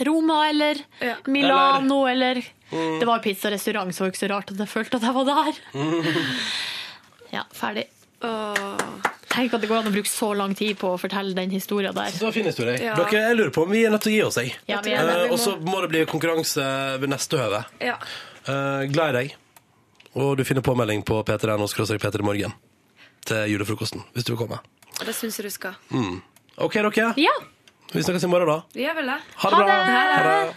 S1: Roma eller
S7: Ja. Mm.
S1: Milano eller, Det var jo pizzarestaurant, så det var ikke så rart at jeg følte at jeg var der.
S7: Mm.
S1: <laughs> Ja, ferdig.
S7: Åh.
S1: Tenk at det går an å bruke så lang tid på å fortelle den historien der.
S2: Så det var en fin historie.
S7: Ja.
S2: Dere, jeg lurer på om vi er nødt til å gi oss, jeg.
S1: Ja, vi er det.
S2: Eh,
S7: Vi må-
S2: og så må det bli konkurranse ved neste høve.
S7: Ja.
S2: Eh, glad i deg. Og du finner påmelding på p3.no p3 morgen til julefrokosten, hvis du vil komme.
S7: Og det syns jeg du skal.
S2: OK, dere.
S1: Ja,
S2: Vi snakkes i morgen, da.
S7: Vi gjør vel det.
S2: Ha det bra.
S1: det!
S2: Ha det.